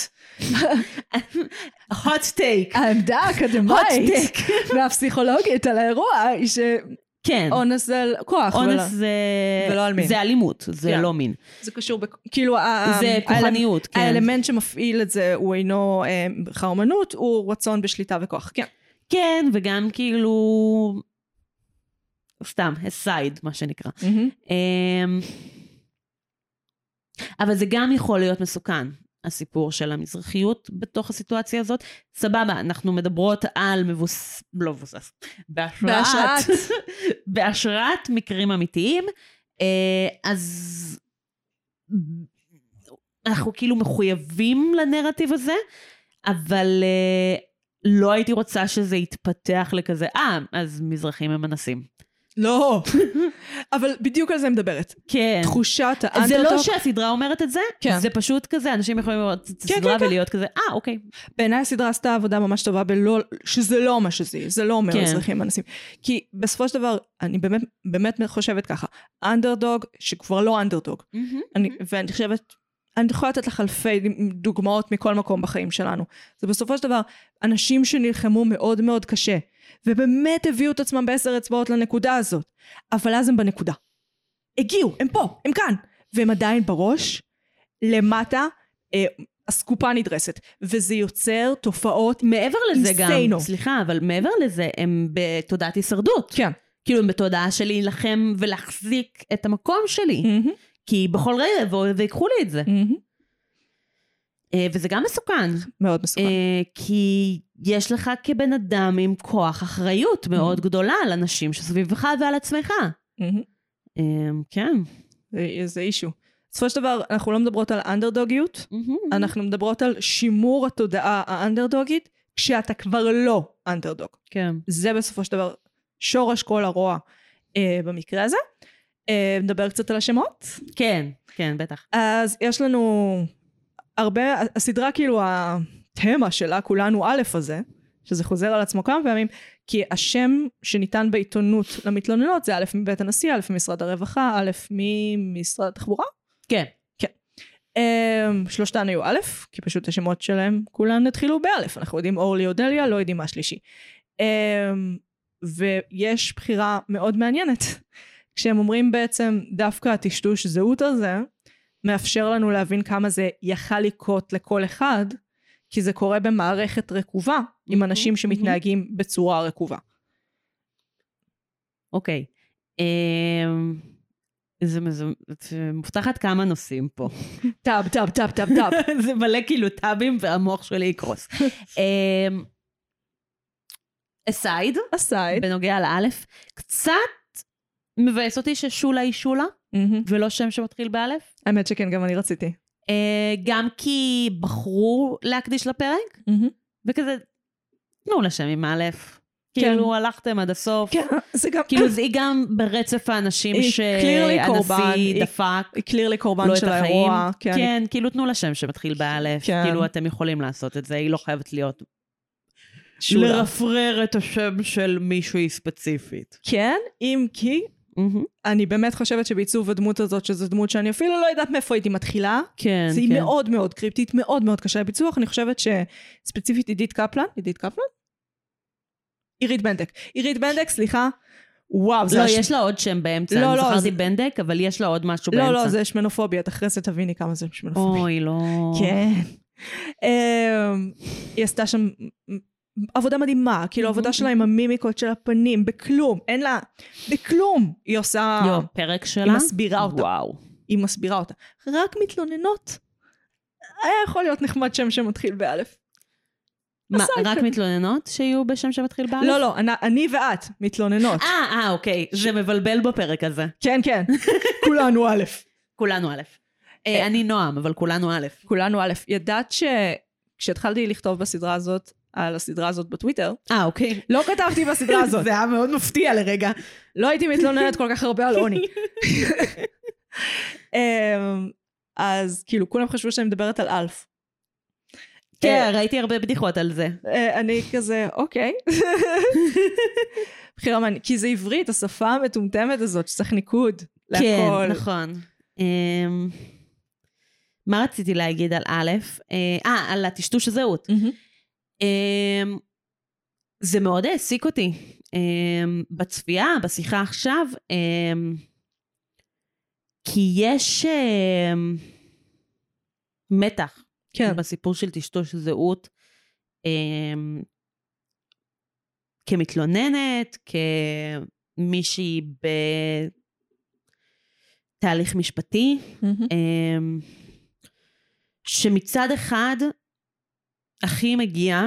hot take.
העמדה האקדמית והפסיכולוגית על האירוע היא שאונס
כן.
זה על כוח.
אונס
ולא-
זה...
ולא על מין.
זה אלימות, זה
כן.
לא מין.
זה קשור, בכ- כאילו, ה- ה-
זה
האלמנ-
כוחניות, כן.
האלמנט שמפעיל את זה הוא אינו אה, חרמנות, הוא רצון בשליטה וכוח. כן.
כן, וגם כאילו... סתם, aside, מה שנקרא. אמ, אבל זה גם יכול להיות מסוכן, הסיפור של המזרחיות בתוך הסיטואציה הזאת. סבבה, אנחנו מדברות על מבוס... לא מבוסס. בהשראת.
בהשראת.
בהשראת מקרים אמיתיים. אה, אז אנחנו כאילו מחויבים לנרטיב הזה, אבל אה, לא הייתי רוצה שזה יתפתח לכזה, אה, אז מזרחים הם אנסים.
לא. אבל בדיוק על זה מדברת.
כן.
תחושת
זה
האנדרדוק.
לא שהסדרה אומרת את זה,
כן.
זה פשוט כזה, אנשים יכולים לראות את
כן,
הסדרה
כן, כן.
ולהיות כזה, אה, אוקיי.
בעיניי הסדרה עשתה עבודה ממש טובה בלא, שזה לא מה שזה, זה לא אומר
כן.
כן. אזרחים אנסים. כי בסופו של דבר, אני באמת, באמת חושבת ככה, אנדרדוג שכבר לא אנדרדוג, אני, ואני חושבת, אני יכולה לתת לך אלפי דוגמאות מכל מקום בחיים שלנו. זה בסופו של דבר, אנשים שנלחמו מאוד מאוד קשה, ובאמת הביאו את עצמם בעשר אצבעות לנקודה הזאת, אבל אז הם בנקודה. הגיעו, הם פה, הם כאן, והם עדיין בראש, למטה, אה, אסקופה נדרסת, וזה יוצר תופעות...
מעבר לזה גם,
Insano.
סליחה, אבל מעבר לזה, הם בתודעת הישרדות.
כן.
כאילו, הם בתודעה של להילחם ולהחזיק את המקום שלי.
מהמם,
כי בכל רגע יבואו ויקחו לי את זה.
מהמם.
אה, וזה גם מסוכן,
מאוד מסוכן.
אה, כי יש לך כבן אדם עם כוח אחריות מאוד גדולה על אנשים שסביבך ועל עצמך.
מהמם.
אה, כן.
זה- זה אישו. בסופו של דבר, אנחנו לא מדברות על אנדרדוגיות, אנחנו מדברות על שימור התודעה האנדרדוגית, כשאתה כבר לא אנדרדוג.
כן.
זה בסופו של דבר שורש כל הרוע אה, במקרה הזה. אה, נדבר קצת על השמות.
כן, כן, בטח.
אז יש לנו הרבה, הסדרה כאילו התמה שלה, כולנו א' הזה, שזה חוזר על עצמו כמה פעמים, כי השם שניתן בעיתונות למתלוננות זה א' מבית הנשיא, א' ממשרד הרווחה, א' ממשרד התחבורה.
כן.
Um, שלושתן היו א', כי פשוט השמות שלהם כולן התחילו באלף. אנחנו יודעים אורלי אודליה, לא יודעים מה השלישי. Um, ויש בחירה מאוד מעניינת. כשהם אומרים בעצם, דווקא הטשטוש זהות הזה, מאפשר לנו להבין כמה זה יכל לקרות לכל אחד, כי זה קורה במערכת רקובה, עם
מהמם,
אנשים שמתנהגים בצורה רקובה.
אוקיי. אמ, זה מזו- את מובטחת כמה נושאים פה.
טאב, טאב, טאב, טאב, טאב.
זה מלא כאילו טאבים והמוח שלי יקרוס. אמ, aside,
aside.
בנוגע לאלף, קצת מבאס אותי ששולה היא שולה,
מהמם.
ולא שם שמתחיל באלף.
האמת שכן, גם אני רציתי.
אה, גם כי בחרו להקדיש לפרק,
מהמם.
וכזה, תנו לשם עם אלף.
כן.
כאילו הלכתם עד הסוף.
כן, זה גם...
כאילו זה היא גם ברצף האנשים
היא clearly קורבן,
שהנשיא
היא-
דפק
היא clear לי קורבן
לו את
של
החיים.
האירוע. לא כן, אני-
כן, כאילו תנו לה שם שמתחיל באלף,
כן.
כאילו אתם יכולים לעשות את זה, היא לא חייבת להיות.
שולה.
לרפרר את השם של מישהי ספציפית.
כן, אם כי אני באמת חושבת שבעיצוב הדמות הזאת, שזו דמות שאני אפילו לא יודעת מאיפה הייתי מתחילה,
כן,
זה היא מאוד מאוד קריפטית, מאוד מאוד קשה לביצוח. אני חושבת שספציפית עידית קפלן, עידית קפלן? עירית בנדק. עירית בנדק, סליחה. וואו, זה...
לא,
הש-
יש לה עוד שם באמצע,
לא,
אני
לא,
זכרתי
זה-
בנדק, אבל יש לה עוד משהו באמצע.
לא, לא, זה שמנופוביה, אחרי זה תביני כמה זה שמנופוביה.
אוי, לא...
כן. אמ, היא עשתה שם עבודה מדהימה, כאילו
Mm-hmm.
עבודה שלה עם המימיקות של הפנים, בכלום, אין לה, בכלום היא עושה,
יו, פרק שלה?
היא מסבירה אותה,
וואו.
היא מסבירה אותה. רק מתלוננות. היה יכול להיות נחמד שם שמתחיל באלף.
מה,
עשה את
רק
זה.
מתלוננות שיהיו בשם שמתחיל באלף?
לא, לא, אני- אני ואת מתלוננות.
אה, אה, אוקיי, זה מבלבל בפרק הזה.
כן, כן, כולנו א'.
כולנו א'. אה, אני נועם, אבל כולנו א'.
כולנו א'. ידעת שכשהתחלתי לכתוב בסדרה הזאת, על הסדרה הזאת בטוויטר,
אה, אוקיי.
לא כתבתי בסדרה הזאת.
היה מאוד מפתיע לרגע.
לא הייתי מתלוננת כל כך הרבה על עוני. אמ, אז כאילו, כולם חשבו שאני מדברת על אלף.
כן, ראיתי הרבה בדיחות על זה.
אה, אני כזה, אוקיי. בחירה מעניינת, כי זה עברית, השפה המטומטמת הזאת, שצריך ניקוד להכל.
כן, נכון. אמ, מה רציתי להגיד על א', אה, אה, על הטשטוש הזהות.
מהמם.
אמ, זה מאוד העסיק אותי. אמ, בצפייה, בשיחה עכשיו, אמ, כי יש אמ, מתח
כן.
בסיפור של טשטוש זהות אמ, כמתלוננת, כמישהי בתהליך משפטי,
מהמם.
אמ, שמצד אחד הכי מגיע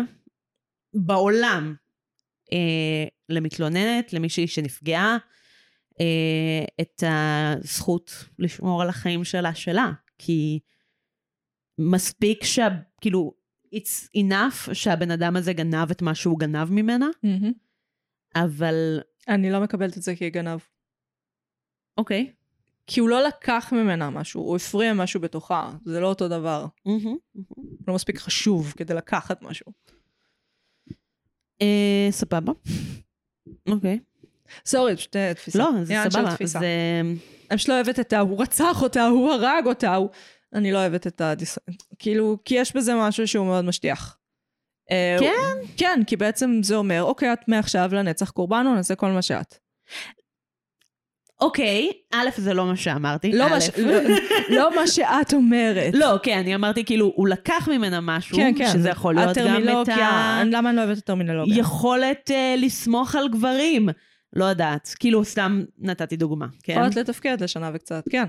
בעולם אה, למתלוננת, למישהי שנפגעה, אה, את הזכות לשמור על החיים שלה שלה, כי מספיק שה... כאילו, it's enough שהבן אדם הזה גנב את מה שהוא גנב ממנה,
מהמם.
אבל
אני לא מקבלת את זה כגנב.
אוקיי.
כי הוא לא לקח ממנה משהו, הוא הפריע משהו בתוכה, זה לא אותו דבר. הוא לא מספיק חשוב כדי לקחת משהו.
אה, סבבה. אוקיי.
סורי, פשוט אה, תפיסה.
לא, זה
עניין של
סבבה.
תפיסה.
זה...
אני פשוט לא אוהבת את ה... הוא רצח אותה, הוא הרג אותה, הוא... אני לא אוהבת את הדיס... כאילו, כי יש בזה משהו שהוא מאוד משטיח. אה,
כן?
הוא- כן, כי בעצם זה אומר, אוקיי, את מעכשיו לנצח קורבן, או נעשה כל מה שאת.
אוקיי, א', זה לא מה שאמרתי.
לא
א'.
מה ש- לא- לא מה שאת אומרת.
לא, כן, אני אמרתי כאילו, הוא לקח ממנה משהו,
כן, כן.
שזה יכול להיות גם את
הטרמינולוגיה, למה אני לא אוהבת את הטרמינולוגיה?
היכולת אה, לסמוך על גברים. לא יודעת, כאילו, סתם נתתי דוגמה, כן?
יכולת לתפקד לשנה
אה,
וקצת, כן.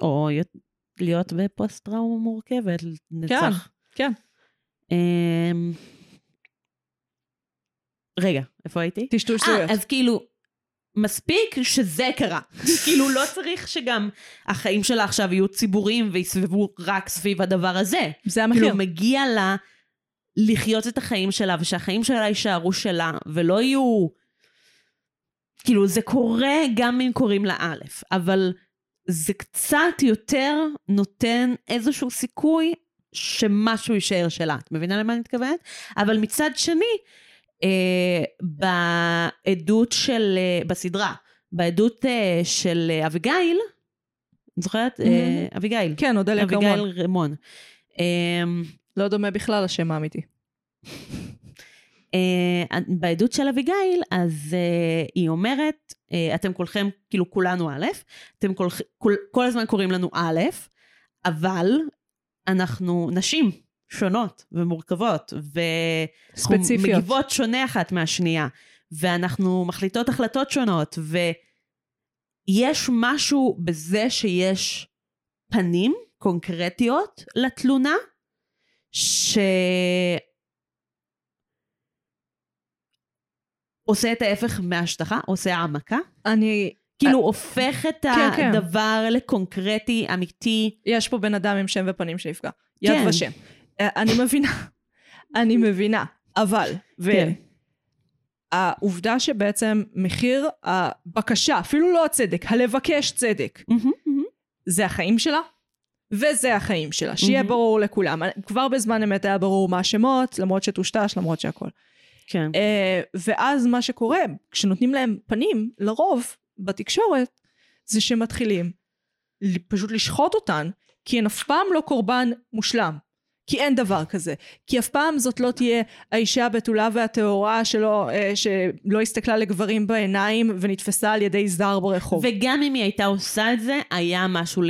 או יות- להיות בפוסט-טראומה מורכבת, נצח.
כן.
אמ, רגע, איפה הייתי?
טשטוש זהויות.
אה, אז כאילו, מספיק שזה קרה. כאילו, לא צריך שגם החיים שלה עכשיו יהיו ציבוריים ויסבבו רק סביב הדבר הזה.
זה המחיר.
כאילו, מגיע לה לחיות את החיים שלה, ושהחיים שלה יישארו שלה, ולא יהיו... כאילו, זה קורה גם אם קוראים לה א', אבל זה קצת יותר נותן איזשהו סיכוי שמשהו יישאר שלה. את מבינה למה אני מתכוונת? אבל מצד שני, אה, בעדות של... אה, בסדרה, בעדות אה, של אה, אביגיל, את זוכרת? אה,
Mhm.
אביגיל.
כן, אודליה
אביגיל
כרמון.
רמון. אמ,
לא דומה בכלל לשם האמיתי.
אה, בעדות של אביגיל, אז אה, היא אומרת, אה, אתם כולכם, כאילו כולנו א', אתם כל, כל, כל הזמן קוראים לנו א', אבל אנחנו נשים שונות ומורכבות, ואנחנו
ספציפיות.
מגיבות שונה אחת מהשנייה, ואנחנו מחליטות החלטות שונות, ויש משהו בזה שיש פנים קונקרטיות לתלונה, שעושה את ההפך מההשטחה, עושה העמקה.
אני...
כאילו הופך את
אה, כן, כן.
הדבר לקונקרטי, אמיתי.
יש פה בן אדם עם שם ופנים שנפגע. יד
כן.
ושם. אה, אני מבינה. אני מבינה. אבל, ו...
כן.
העובדה שבעצם מחיר הבקשה, אפילו לא הצדק, הלבקש צדק, זה החיים שלה, וזה החיים שלה. שיהיה
מהמם.
ברור לכולם. כבר בזמן אמת היה ברור מה השמות, למרות שטושטש, למרות שהכל.
כן.
אה, ואז מה שקורה, כשנותנים להם פנים, לרוב, בתקשורת, זה שמתחילים ל- פשוט לשחוט אותן, כי הן אף פעם לא קורבן מושלם. כי אין דבר כזה. כי אף פעם זאת לא תהיה האישה הבתולה והטהורה שלא, אה, שלא הסתכלה לגברים בעיניים ונתפסה על ידי זר ברחוב.
וגם אם היא הייתה עושה את זה, היה משהו ל-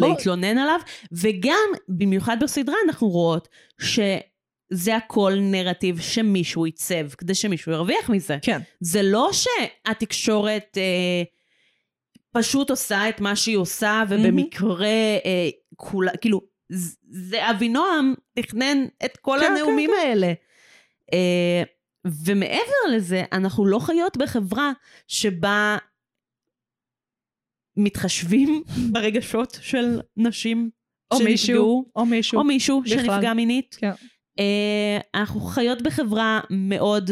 בוא-
להתלונן עליו. וגם, במיוחד בסדרה, אנחנו רואות שזה הכל נרטיב שמישהו עיצב, כדי שמישהו ירוויח מזה.
כן.
זה לא שהתקשורת אה, פשוט עושה את מה שהיא עושה, ובמקרה אה, כולה, כאילו, ז- זה אבינועם תכנן את כל
כן,
הנאומים האלה. אה, ומעבר לזה, אנחנו לא חיות בחברה שבה מתחשבים ברגשות של נשים
או
שנפגעו,
מישהו, או מישהו.
או מישהו
בכלל.
שנפגע מינית.
כן.
אה, אנחנו חיות בחברה מאוד,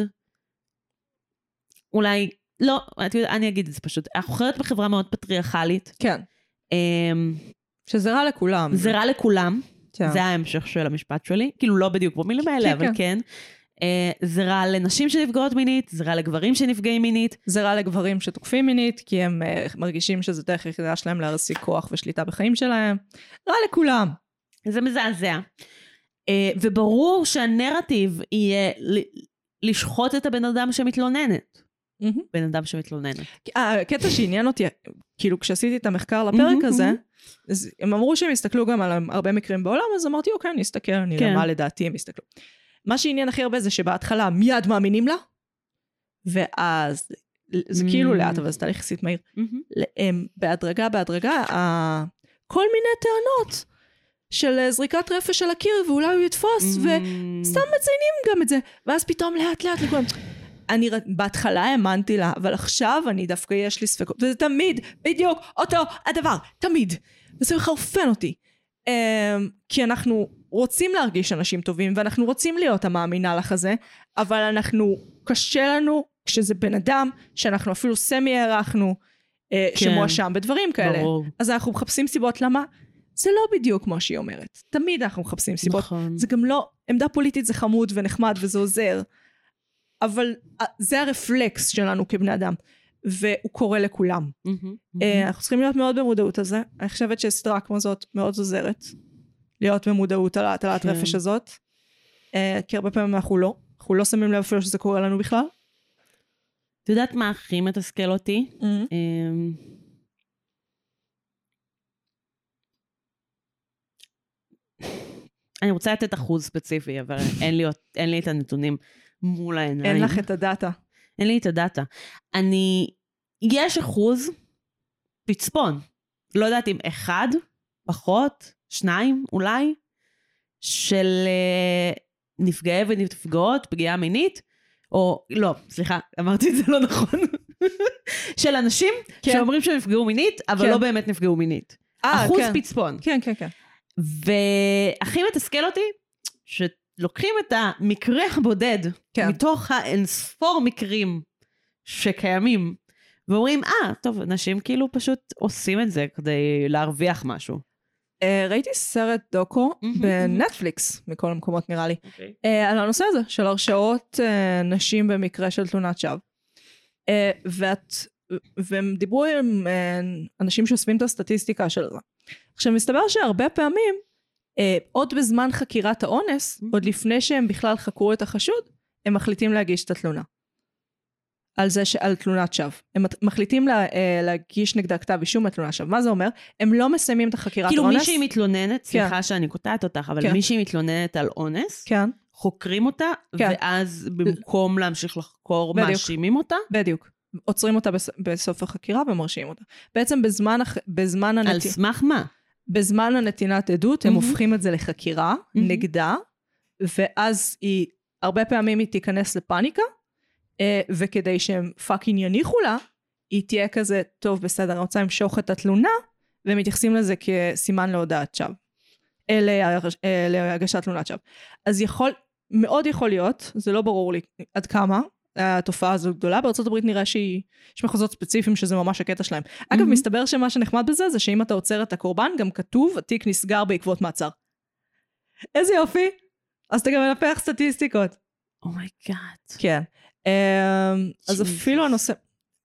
אולי, לא, את יודעת, אני אגיד את זה פשוט, אנחנו חיות בחברה מאוד פטריארכלית.
כן.
אה,
שזה רע לכולם.
זה רע לכולם,
לא- כן.
זה ההמשך של המשפט שלי, כאילו לא בדיוק במילים האלה,
כן,
אבל כן. אה, זה רע לנשים שנפגעות מינית, זה רע לגברים שנפגעים מינית.
זה רע לגברים שתוקפים מינית, כי הם uh, מרגישים שזו דרך היחידה שלהם להרסיק כוח ושליטה בחיים שלהם. רע לכולם.
זה מזעזע. אה, וברור שהנרטיב יהיה ל- לשחוט את הבן אדם שמתלוננת. בן אדם שמתלוננת.
אה, הקטע שעניין אותי, כאילו כשעשיתי את המחקר לפרק
Mhm,
הזה, אז הם אמרו שהם הסתכלו גם על הרבה מקרים בעולם, אז אמרתי, אוקיי, אני אסתכל, אני
כן.
אראה מה לדעתי הם הסתכלו. מה שעניין הכי הרבה זה שבהתחלה מיד מאמינים לה, ואז זה כאילו
Mm.
לאט, אבל זה תהליך יחסית מהיר. הם בהדרגה בהדרגה ה- כל מיני טענות של אה, זריקת רפש על הקיר ואולי הוא יתפוס וסתם
Mm,
מציינים גם את זה ואז פתאום לאט לאט לכולם אני ר- בהתחלה האמנתי לה אבל עכשיו אני דווקא יש לי ספקות וזה תמיד בדיוק אותו הדבר תמיד וזה מחרפן אותי um, כי אנחנו רוצים להרגיש אנשים טובים ואנחנו רוצים להיות המאמינה לך הזה אבל אנחנו קשה לנו כשזה בן אדם שאנחנו אפילו סמי הערכנו אה,
כן.
שמואשם בדברים כאלה
ברור.
אז אנחנו מחפשים סיבות למה זה לא בדיוק כמו שהיא אומרת תמיד אנחנו מחפשים סיבות
נכון.
זה גם לא, עמדה פוליטית זה חמוד ונחמד וזה עוזר, אבל אה, זה הרפלקס שלנו כבני אדם, והוא קורה לכולם.
מהמם,
אה,
מהמם.
אנחנו צריכים להיות מאוד במודעות על זה, אני חושבת שסדרה כמו זאת מאוד עוזרת, להיות במודעות על ההטלת
כן.
רפש הזאת, אה, כי הרבה פעמים אנחנו לא, אנחנו לא שמים לב אפילו שזה קורה לנו בכלל.
את יודעת מה הכי מתסכל אותי?
Mm-hmm.
אמ, אני רוצה לתת אחוז ספציפי, אבל אין לי, אות- אין לי את הנתונים מול העיניים.
אין לך את הדאטה.
אין לי את הדאטה. אני... יש אחוז פצפון. לא יודעת אם אחד, פחות, שניים, אולי, של אה, נפגעי ונפגעות פגיעה מינית, או, לא, סליחה, אמרתי את זה לא נכון, של אנשים
כן.
שאומרים שהם נפגעו מינית, אבל
כן.
לא באמת נפגעו מינית.
אה,
אחוז
כן.
פצפון.
כן, כן, כן.
והכי מתסכל אותי, שלוקחים את המקרה הבודד,
כן.
כן. מתוך האינספור מקרים שקיימים, ואומרים, אה, טוב, אנשים כאילו פשוט עושים את זה כדי להרוויח משהו.
אה, ראיתי סרט דוקו
מהמם,
בנטפליקס, מכל המקומות נראה לי,
אוקיי.
אה, על הנושא הזה של הרשעות אה, נשים במקרה של תלונת שווא. אה, ואת, והם דיברו עם אה, אנשים שאוספים את הסטטיסטיקה של זה. עכשיו מסתבר שהרבה פעמים, אה, עוד בזמן חקירת האונס,
Mhm.
עוד לפני שהם בכלל חקרו את החשוד, הם מחליטים להגיש את התלונה. על זה ש... על תלונת שווא. הם מת- מחליטים לה, אה, להגיש נגדה כתב אישום על תלונת שווא. מה זה אומר? הם לא מסיימים את החקירת
כאילו
האונס.
מישהי מתלוננת, סליחה שאני קוטעת אותך, אבל
כן.
מישהי מתלוננת על אונס,
כן,
חוקרים אותה,
כן.
ואז במקום להמשיך לחקור,
בדיוק.
מאשימים אותה.
בדיוק. עוצרים אותה בס... בסוף החקירה ומרשיעים אותה. בעצם בזמן, הח... בזמן,
על
הנט...
סמך מה?
בזמן הנתינת עדות, הם
מהמם.
הופכים את זה לחקירה
מהמם.
נגדה, ואז היא, הרבה פעמים היא תיכנס לפאניקה, אה, וכדי שהם פאקינג יניחו לה, היא תהיה כזה, טוב בסדר, אני רוצה למשוך את התלונה, והם מתייחסים לזה כסימן להודעת שווא. אה, להרש- אה, להגשת תלונת שווא. אז יכול, מאוד יכול להיות, זה לא ברור לי עד כמה. התופעה הזו גדולה, בארה"ב נראה שהיא, יש מחוזות ספציפיים שזה ממש הקטע שלהם. אגב,
מהמם.
מסתבר שמה שנחמד בזה זה שאם אתה עוצר את הקורבן, גם כתוב, התיק נסגר בעקבות מעצר. איזה יופי! אז אתה גם מנפח סטטיסטיקות.
Oh אומייגאד.
כן. אמ, אז
Jesus.
אפילו הנושא...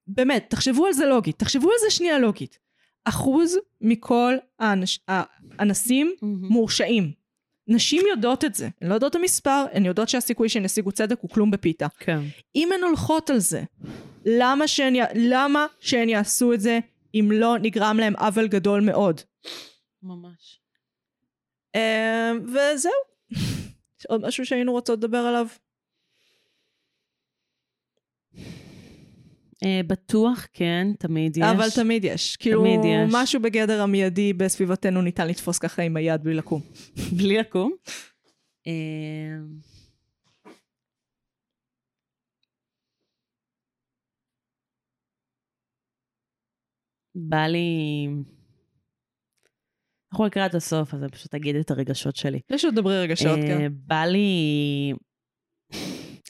באמת, תחשבו על זה לוגית. תחשבו על זה שנייה לוגית. אחוז מכל האנש- האנסים מורשעים. נשים יודעות את זה. הן לא יודעות את המספר, הן יודעות שהסיכוי שהן ישיגו צדק הוא כלום בפיתה.
כן.
אם הן הולכות על זה, למה שהן, י- למה שהן יעשו את זה אם לא נגרם להן עוול גדול מאוד?
ממש.
אה, וזהו. יש עוד משהו שהיינו רוצות לדבר עליו?
אה, בטוח, כן, תמיד יש.
אבל תמיד יש. כאילו,
תמיד יש.
משהו בגדר המיידי בסביבתנו ניתן לתפוס ככה עם היד בלי לקום.
בלי לקום. אה, בא לי... אנחנו לקראת הסוף, אז אני פשוט אגיד את הרגשות שלי.
יש עוד דברי רגשות,
אה,
כן.
בא לי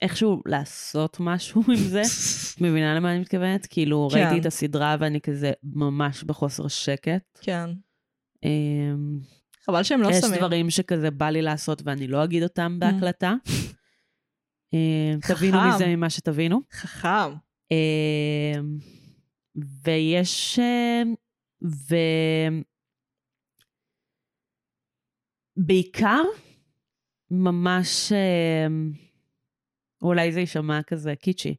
איכשהו לעשות משהו עם זה. את מבינה למה אני מתכוונת? כאילו,
כן.
ראיתי את הסדרה ואני כזה ממש בחוסר שקט.
כן.
אה,
חבל שהם לא
יש
שמים.
דברים שכזה בא לי לעשות ואני לא אגיד אותם בהקלטה. אה, תבינו
חכם.
מזה ממה שתבינו.
חכם.
אה, ויש... אה, ו... בעיקר, ממש... אה, אולי זה יישמע כזה קיצ'י,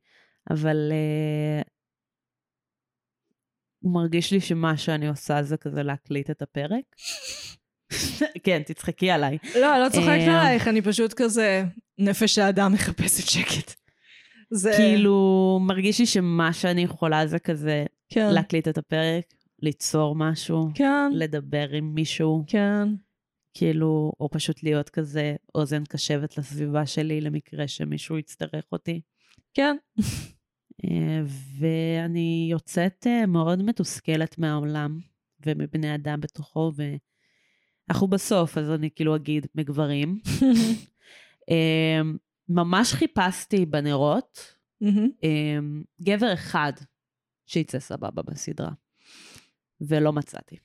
אבל... אה, מרגיש לי שמה שאני עושה זה כזה להקליט את הפרק. כן, תצחקי עליי.
לא, לא צוחקת
אה,
עלייך, אני פשוט כזה, נפש האדם מחפשת שקט. זה...
כאילו, מרגיש לי שמה שאני יכולה זה כזה
כן.
להקליט את הפרק, ליצור משהו,
כן.
לדבר עם מישהו,
כן.
כאילו, או פשוט להיות כזה אוזן קשבת לסביבה שלי למקרה שמישהו יצטרך אותי.
כן.
אה, ואני יוצאת אה, מאוד מתוסכלת מהעולם ומבני אדם בתוכו, ואנחנו בסוף, אז אני כאילו אגיד מגברים. אה, ממש חיפשתי בנרות
מהמם.
אמ, גבר אחד שיצא סבבה בסדרה, ולא מצאתי.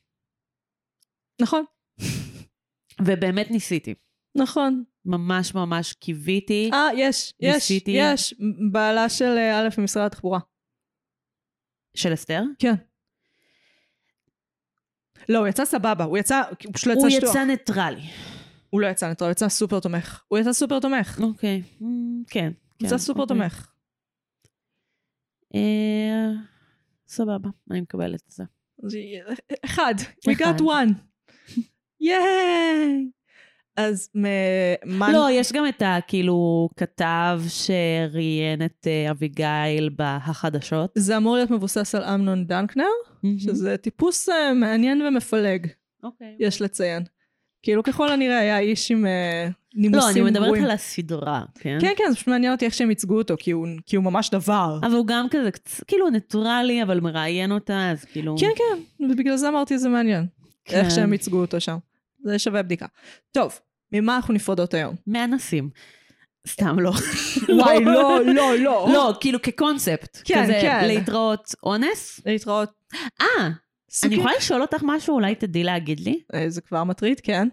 נכון.
ובאמת ניסיתי.
נכון.
ממש ממש קיוויתי.
אה, יש, יש,
ניסיתי.
יש. בעלה של אה, א' ממשרד התחבורה.
של אסתר?
כן. לא, הוא יצא סבבה, הוא יצא, הוא פשוט לא יצא
הוא
שטוח.
יצא ניטרלי.
הוא לא יצא נטרל, הוא יצא סופר תומך. הוא יצא סופר תומך. הוא
אוקיי. אמ, כן. כן,
יצא סופר
אוקיי.
תומך.
אה, סבבה, אני מקבלת את זה.
אז אחד. We
אחד.
got one. ייי! אז מ- מה...
לא, יש גם את הכאילו כתב שראיין את אה, אביגיל בחדשות.
זה אמור להיות מבוסס על אמנון
Mhm.
דנקנר, שזה טיפוס אה, מעניין ומפלג,
אוקיי.
יש לציין. כאילו, ככל הנראה היה איש עם אה, נימוסים
לא, אני מדברת
גרועים.
על הסדרה, כן?
כן, כן, זה פשוט מעניין אותי איך שהם ייצגו אותו, כי הוא, כי הוא ממש דבר.
אבל הוא גם כזה, קצ- כאילו ניטרלי, אבל מראיין אותה, אז כאילו...
כן, כן, ובגלל זה אמרתי זה מעניין.
כן.
איך שהם ייצגו אותו שם. זה שווה בדיקה. טוב, ממה אנחנו נפרדות היום?
מאנסים. סתם לא.
וואי, לא, לא, לא.
לא, כאילו כקונספט.
כן,
כזה,
כן.
להתראות אונס.
להתראות.
אה, אני
סוגי-
יכולה לשאול אותך משהו, אולי תדעי להגיד לי?
אה, זה כבר מטריד, כן.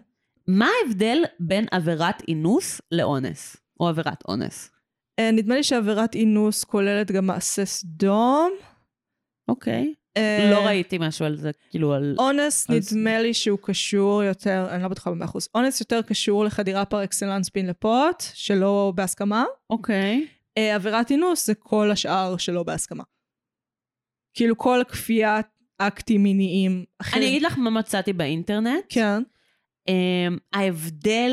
מה ההבדל בין עבירת אינוס לאונס? או עבירת אונס.
אה, נדמה לי שעבירת אינוס כוללת גם מעשה סדום.
אוקיי.
אה,
לא ראיתי משהו על זה, כאילו על...
אונס
אז-
נדמה לי שהוא קשור יותר, אני לא בטוחה במאה אחוז, אונס יותר קשור לחדירה פר אקסלנס פין לפוט, שלא בהסכמה.
אוקיי.
אה, עבירת אינוס זה כל השאר שלא בהסכמה. כאילו כל כפיית אקטים מיניים אחרים.
אני אגיד לך מה מצאתי באינטרנט.
כן.
אמ, ההבדל,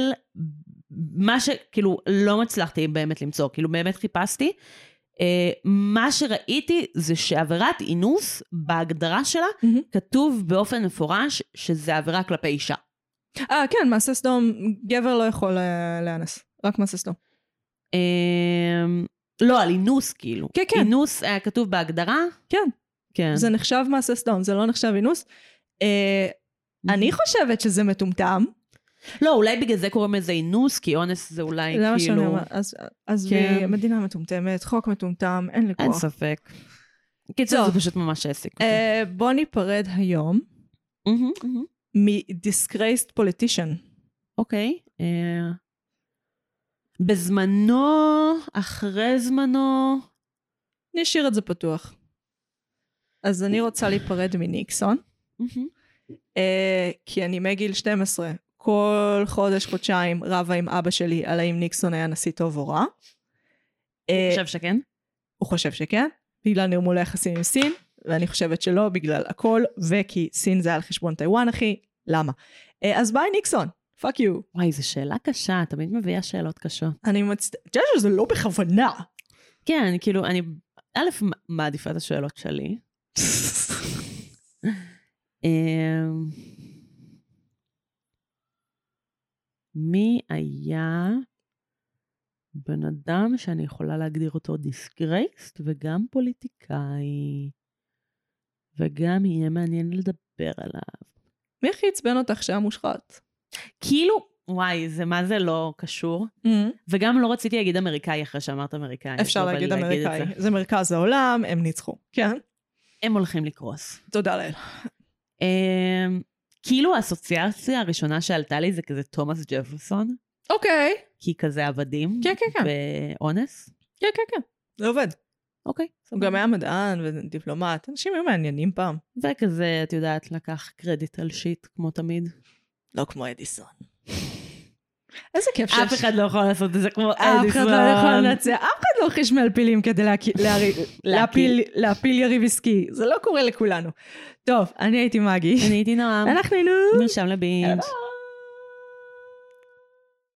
מה שכאילו לא מצלחתי באמת למצוא, כאילו באמת חיפשתי, אה, מה שראיתי זה שעבירת אינוס, בהגדרה שלה,
מהמם.
כתוב באופן מפורש שזה עבירה כלפי אישה.
אה, כן, מעשה סדום, גבר לא יכול אה, לאנס, רק מעשה סדום.
אמ, לא, על אינוס כאילו.
כן, כן.
אינוס היה כתוב בהגדרה?
כן.
כן.
זה נחשב מעשה סדום, זה לא נחשב אינוס. אה,
אוקיי.
אני חושבת שזה מטומטם.
לא, אולי בגלל זה קוראים לזה אינוס, כי אונס זה אולי
זה מה שאני
כאילו...
אומרת. אז- אז
כן.
מדינה מטומטמת, חוק מטומטם, אין לי
אין
כוח.
ספק. קיצור,
טוב.
זה פשוט ממש העסיק אותי.
אה, בוא ניפרד היום
מהמם, מהמם.
מ-disgraced politician.
אוקיי. אה, בזמנו, אחרי זמנו,
נשאיר את זה פתוח. אז אני רוצה להיפרד מניקסון,
מהמם.
אה, כי אני מגיל 12, כל חודש, חודשיים, רבה עם אבא שלי על האם ניקסון היה נשיא טוב או רע. אה,
חושב שכן?
הוא חושב שכן, בגלל נרמול היחסים עם סין, ואני חושבת שלא, בגלל הכל, וכי סין זה היה על חשבון טיוואן, אחי, למה? אה, אז ביי ניקסון, פאק יו.
וואי, זו שאלה קשה, תמיד מביאה שאלות קשות.
אני מצט... אתה יודע שזה לא בכוונה.
כן, אני כאילו, אני, א', מ- מעדיפה את השאלות שלי. אמ, מי היה בן אדם שאני יכולה להגדיר אותו דיסגרייסט וגם פוליטיקאי, וגם יהיה מעניין לדבר עליו.
מי הכי עצבן אותך שהיה מושחת?
כאילו, וואי, זה מה זה לא קשור. וגם לא רציתי להגיד אמריקאי אחרי שאמרת אמריקאי. אז
Mm, אפשר
לא בא לי
להגיד
את
אמריקאי.
זה.
זה מרכז העולם, הם ניצחו. כן.
הם הולכים לקרוס.
תודה לאל.
אמ, כאילו האסוציאציה הראשונה שעלתה לי זה כזה תומאס ג'פרסון,
אוקיי.
כי כזה עבדים.
כן, כן, כן.
ואונס.
כן, כן, כן. זה עובד. Mm.
אוקיי.
הוא
סבבה.
גם היה מדען ודיפלומט. אנשים היו מעניינים פעם.
וכזה, את יודעת, לקח קרדיט על שיט, כמו תמיד.
לא כמו אדיסון. איזה כיף
אף אחד לא יכול לעשות את זה כמו אדיסון.
אף אחד לא יכול לנצח, אף אחד לא חשמל פילים כדי להקי- להרי- להפיל- להפיל יריב עסקי, זה לא קורה לכולנו. טוב, אני הייתי מגי,
אני הייתי נועם,
אנחנו היינו...
מרשם לבינג'.
יאללה, ביי.